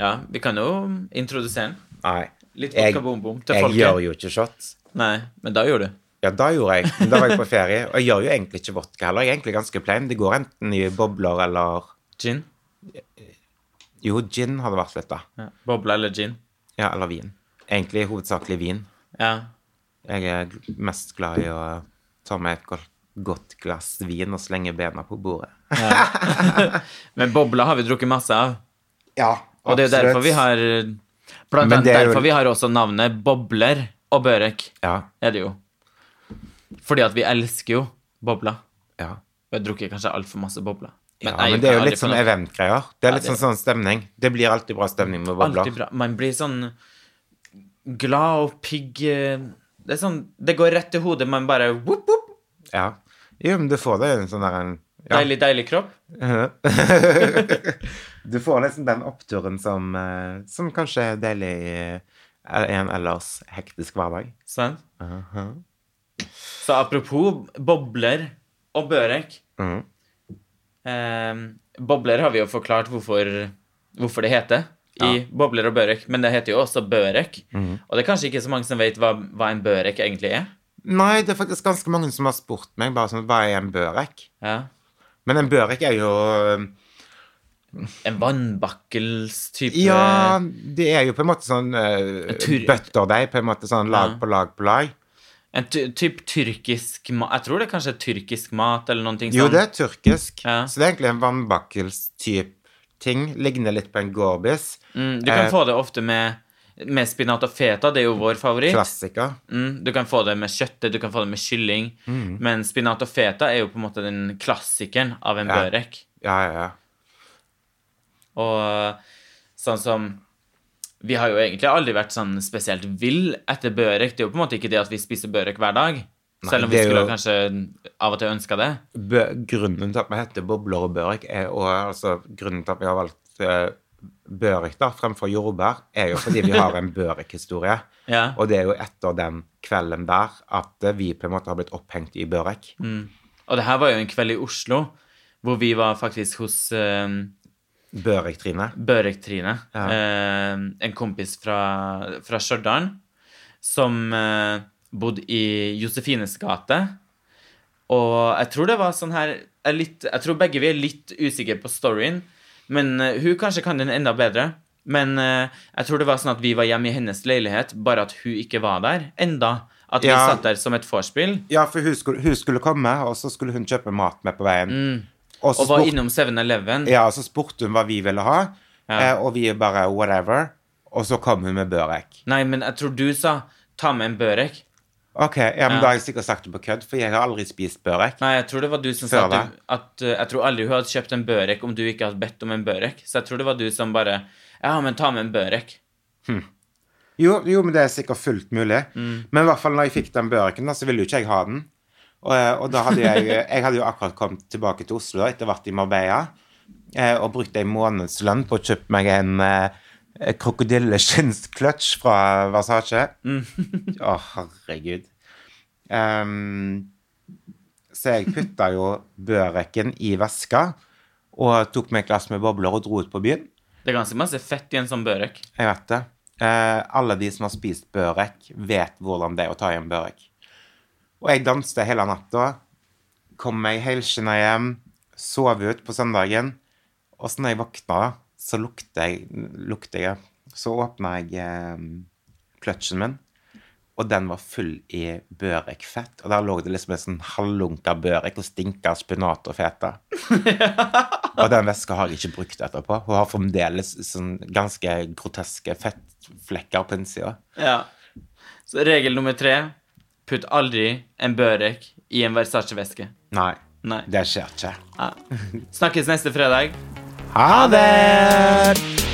[SPEAKER 1] ja. Vi kan jo introdusere den.
[SPEAKER 2] Nei.
[SPEAKER 1] Litt
[SPEAKER 2] Jeg-
[SPEAKER 1] vodka Boom Boom til
[SPEAKER 2] Jeg
[SPEAKER 1] folket.
[SPEAKER 2] gjør jo ikke shots.
[SPEAKER 1] Nei, men da gjorde du.
[SPEAKER 2] Ja, da gjorde jeg. Men da var jeg på ferie. Og jeg gjør jo egentlig ikke vodka heller. Jeg er egentlig ganske plain. Det går enten i bobler eller
[SPEAKER 1] Gin.
[SPEAKER 2] Jo, gin hadde vært litt, da.
[SPEAKER 1] Ja. Bobla eller gin.
[SPEAKER 2] Ja, eller vin. Egentlig hovedsakelig vin.
[SPEAKER 1] Ja.
[SPEAKER 2] Jeg er gl- mest glad i å ta meg et godt, godt glass vin og slenge bena på bordet.
[SPEAKER 1] Men bobla har vi drukket masse av.
[SPEAKER 2] Ja,
[SPEAKER 1] Og det er jo derfor vi har Blant
[SPEAKER 2] Men
[SPEAKER 1] annet
[SPEAKER 2] det er jo-
[SPEAKER 1] derfor vi har også navnet Bobler og Børek.
[SPEAKER 2] Ja,
[SPEAKER 1] Er det jo. Fordi at vi elsker jo bobler.
[SPEAKER 2] ja.
[SPEAKER 1] Og jeg drukker kanskje altfor masse bobler.
[SPEAKER 2] Men, ja,
[SPEAKER 1] nei,
[SPEAKER 2] men det er jo
[SPEAKER 1] jeg
[SPEAKER 2] litt sånn
[SPEAKER 1] aldri
[SPEAKER 2] eventgreier. Det er litt
[SPEAKER 1] det er-
[SPEAKER 2] sånn, sånn stemning. Det blir alltid bra stemning med
[SPEAKER 1] får noe-
[SPEAKER 2] bobler.
[SPEAKER 1] Alltid bra. Man blir sånn glad og pigg eh, Det er sånn Det går rett til hodet. Man bare whoop, whoop.
[SPEAKER 2] Ja. Jo, men du får det en sånn der en ja.
[SPEAKER 1] Deilig, deilig kropp.
[SPEAKER 2] Du får liksom den oppturen som, eh, som kanskje er deilig i eh, en ellers hektisk hverdag.
[SPEAKER 1] Sant? Så apropos bobler og børek
[SPEAKER 2] Mhm.
[SPEAKER 1] eh, Bobler har vi jo forklart hvorfor, hvorfor det heter i bobler og børek, men det heter jo også børek.
[SPEAKER 2] Mhm.
[SPEAKER 1] Og det er kanskje ikke så mange som vet hva, hva en børek egentlig er.
[SPEAKER 2] Nei, det er faktisk ganske mange som har spurt meg bare sånn, hva er en børek?
[SPEAKER 1] Ja.
[SPEAKER 2] Men en børek er jo eh,
[SPEAKER 1] En vannbakkelstype
[SPEAKER 2] Ja, det er jo på en måte sånn eh,
[SPEAKER 1] tur-
[SPEAKER 2] bøtterdeig, på en måte sånn lag
[SPEAKER 1] Ja.
[SPEAKER 2] på lag på lag.
[SPEAKER 1] En ty type tyrkisk mat Jeg tror det er kanskje tyrkisk mat eller noen ting
[SPEAKER 2] Jo,
[SPEAKER 1] sånn.
[SPEAKER 2] det er tyrkisk,
[SPEAKER 1] Ja.
[SPEAKER 2] så det er egentlig en vannbakkelstyp ting. Ligner litt på en gorbis.
[SPEAKER 1] Mm, du kan
[SPEAKER 2] Eh.
[SPEAKER 1] få det ofte med, med spinat og feta, det er jo vår favoritt.
[SPEAKER 2] Klassiker.
[SPEAKER 1] Mm, du kan få det med kjøttet, du kan få det med kylling.
[SPEAKER 2] Mhm.
[SPEAKER 1] Men spinat og feta er jo på en måte den klassikeren av en
[SPEAKER 2] Ja.
[SPEAKER 1] børek.
[SPEAKER 2] Ja, ja, ja.
[SPEAKER 1] Og sånn som Vi har jo egentlig aldri vært sånn spesielt vill etter børek. Det er jo på en måte ikke det at vi spiser børek hver dag. selv om vi
[SPEAKER 2] det er
[SPEAKER 1] skulle
[SPEAKER 2] jo-
[SPEAKER 1] kanskje av og til ønska det.
[SPEAKER 2] Bø grunnen til at vi heter bobler og børek, er, og altså, grunnen til at vi har valgt eh, børek da, fremfor jordbær, er jo fordi vi har en børekhistorie.
[SPEAKER 1] Ja.
[SPEAKER 2] Og det er jo etter den kvelden der at eh, vi på en måte har blitt opphengt i børek.
[SPEAKER 1] Mm. Og det her var jo en kveld i Oslo hvor vi var faktisk hos eh,
[SPEAKER 2] Børek-Trine.
[SPEAKER 1] Børek-Trine.
[SPEAKER 2] Ja.
[SPEAKER 1] Eh, en kompis fra, fra Stjørdal som eh, bodde i Josefines gate. Og jeg tror det var sånn her er litt, Jeg tror begge vi er litt usikre på storyen, men eh, hun kanskje kan den enda bedre. Men eh, jeg tror det var sånn at vi var hjemme i hennes leilighet, bare at hun ikke var der enda. At vi
[SPEAKER 2] Ja.
[SPEAKER 1] satt der som et vorspiel
[SPEAKER 2] Ja, for hun skulle, hun skulle komme, og så skulle hun kjøpe mat med på veien. Og
[SPEAKER 1] Mm.
[SPEAKER 2] så
[SPEAKER 1] og var
[SPEAKER 2] spurte-
[SPEAKER 1] innom 7-Eleven.
[SPEAKER 2] Ja, og så spurte hun hva vi ville ha,
[SPEAKER 1] Ja.
[SPEAKER 2] eh, og vi bare whatever. Og så kom hun med børek.
[SPEAKER 1] Nei, men jeg tror du sa 'ta med en børek'.
[SPEAKER 2] Ok, ja, men
[SPEAKER 1] Ja.
[SPEAKER 2] Da har jeg sikkert sagt det på kødd, for jeg har aldri spist børek.
[SPEAKER 1] Nei, jeg tror det var du som sa
[SPEAKER 2] Før
[SPEAKER 1] at, du, at eh, Jeg tror aldri hun hadde kjøpt en børek om du ikke hadde bedt om en børek. Så jeg tror det var du som bare Ja, men ta med en børek.
[SPEAKER 2] Jo, jo, men det er sikkert fullt mulig. Men i hvert fall når jeg fikk den børken, da, så ville jo ikke jeg ha den. Og, eh, og da hadde jeg Jeg hadde jo akkurat kommet tilbake til Oslo etter å ha vært i Marbella eh, og brukt en månedslønn på å kjøpe meg en eh, krokodilleskinnkløtsj fra Versace. <laughs> Å, herregud. Ehm, så jeg putta jo børeken i veska og tok meg et glass med bobler og dro ut på byen.
[SPEAKER 1] Det er ganske masse fett i en sånn børek.
[SPEAKER 2] Jeg vet det. Eh, alle de som har spist børek, vet hvordan det er å ta hjem børek. Og jeg danste hele natta. Kom meg helskinna hjem. Sov ut på søndagen. Og så når jeg våkna, da, så lukter jeg, lukter jeg. Så åpna jeg eh, kløtsjen min, og den var full i børekfett. Og der lå det liksom en sånn halvlunka børek og stinka spinat og feta. og den veska har jeg ikke brukt etterpå. Hun har fremdeles sånn ganske groteske fettflekker på innsida.
[SPEAKER 1] Ja. Så regel nummer tre Putt aldri en børek i en Versace-veske.
[SPEAKER 2] Nei,
[SPEAKER 1] Nei.
[SPEAKER 2] det skjer ikke.
[SPEAKER 1] Snakkes neste fredag.
[SPEAKER 2] Ha det!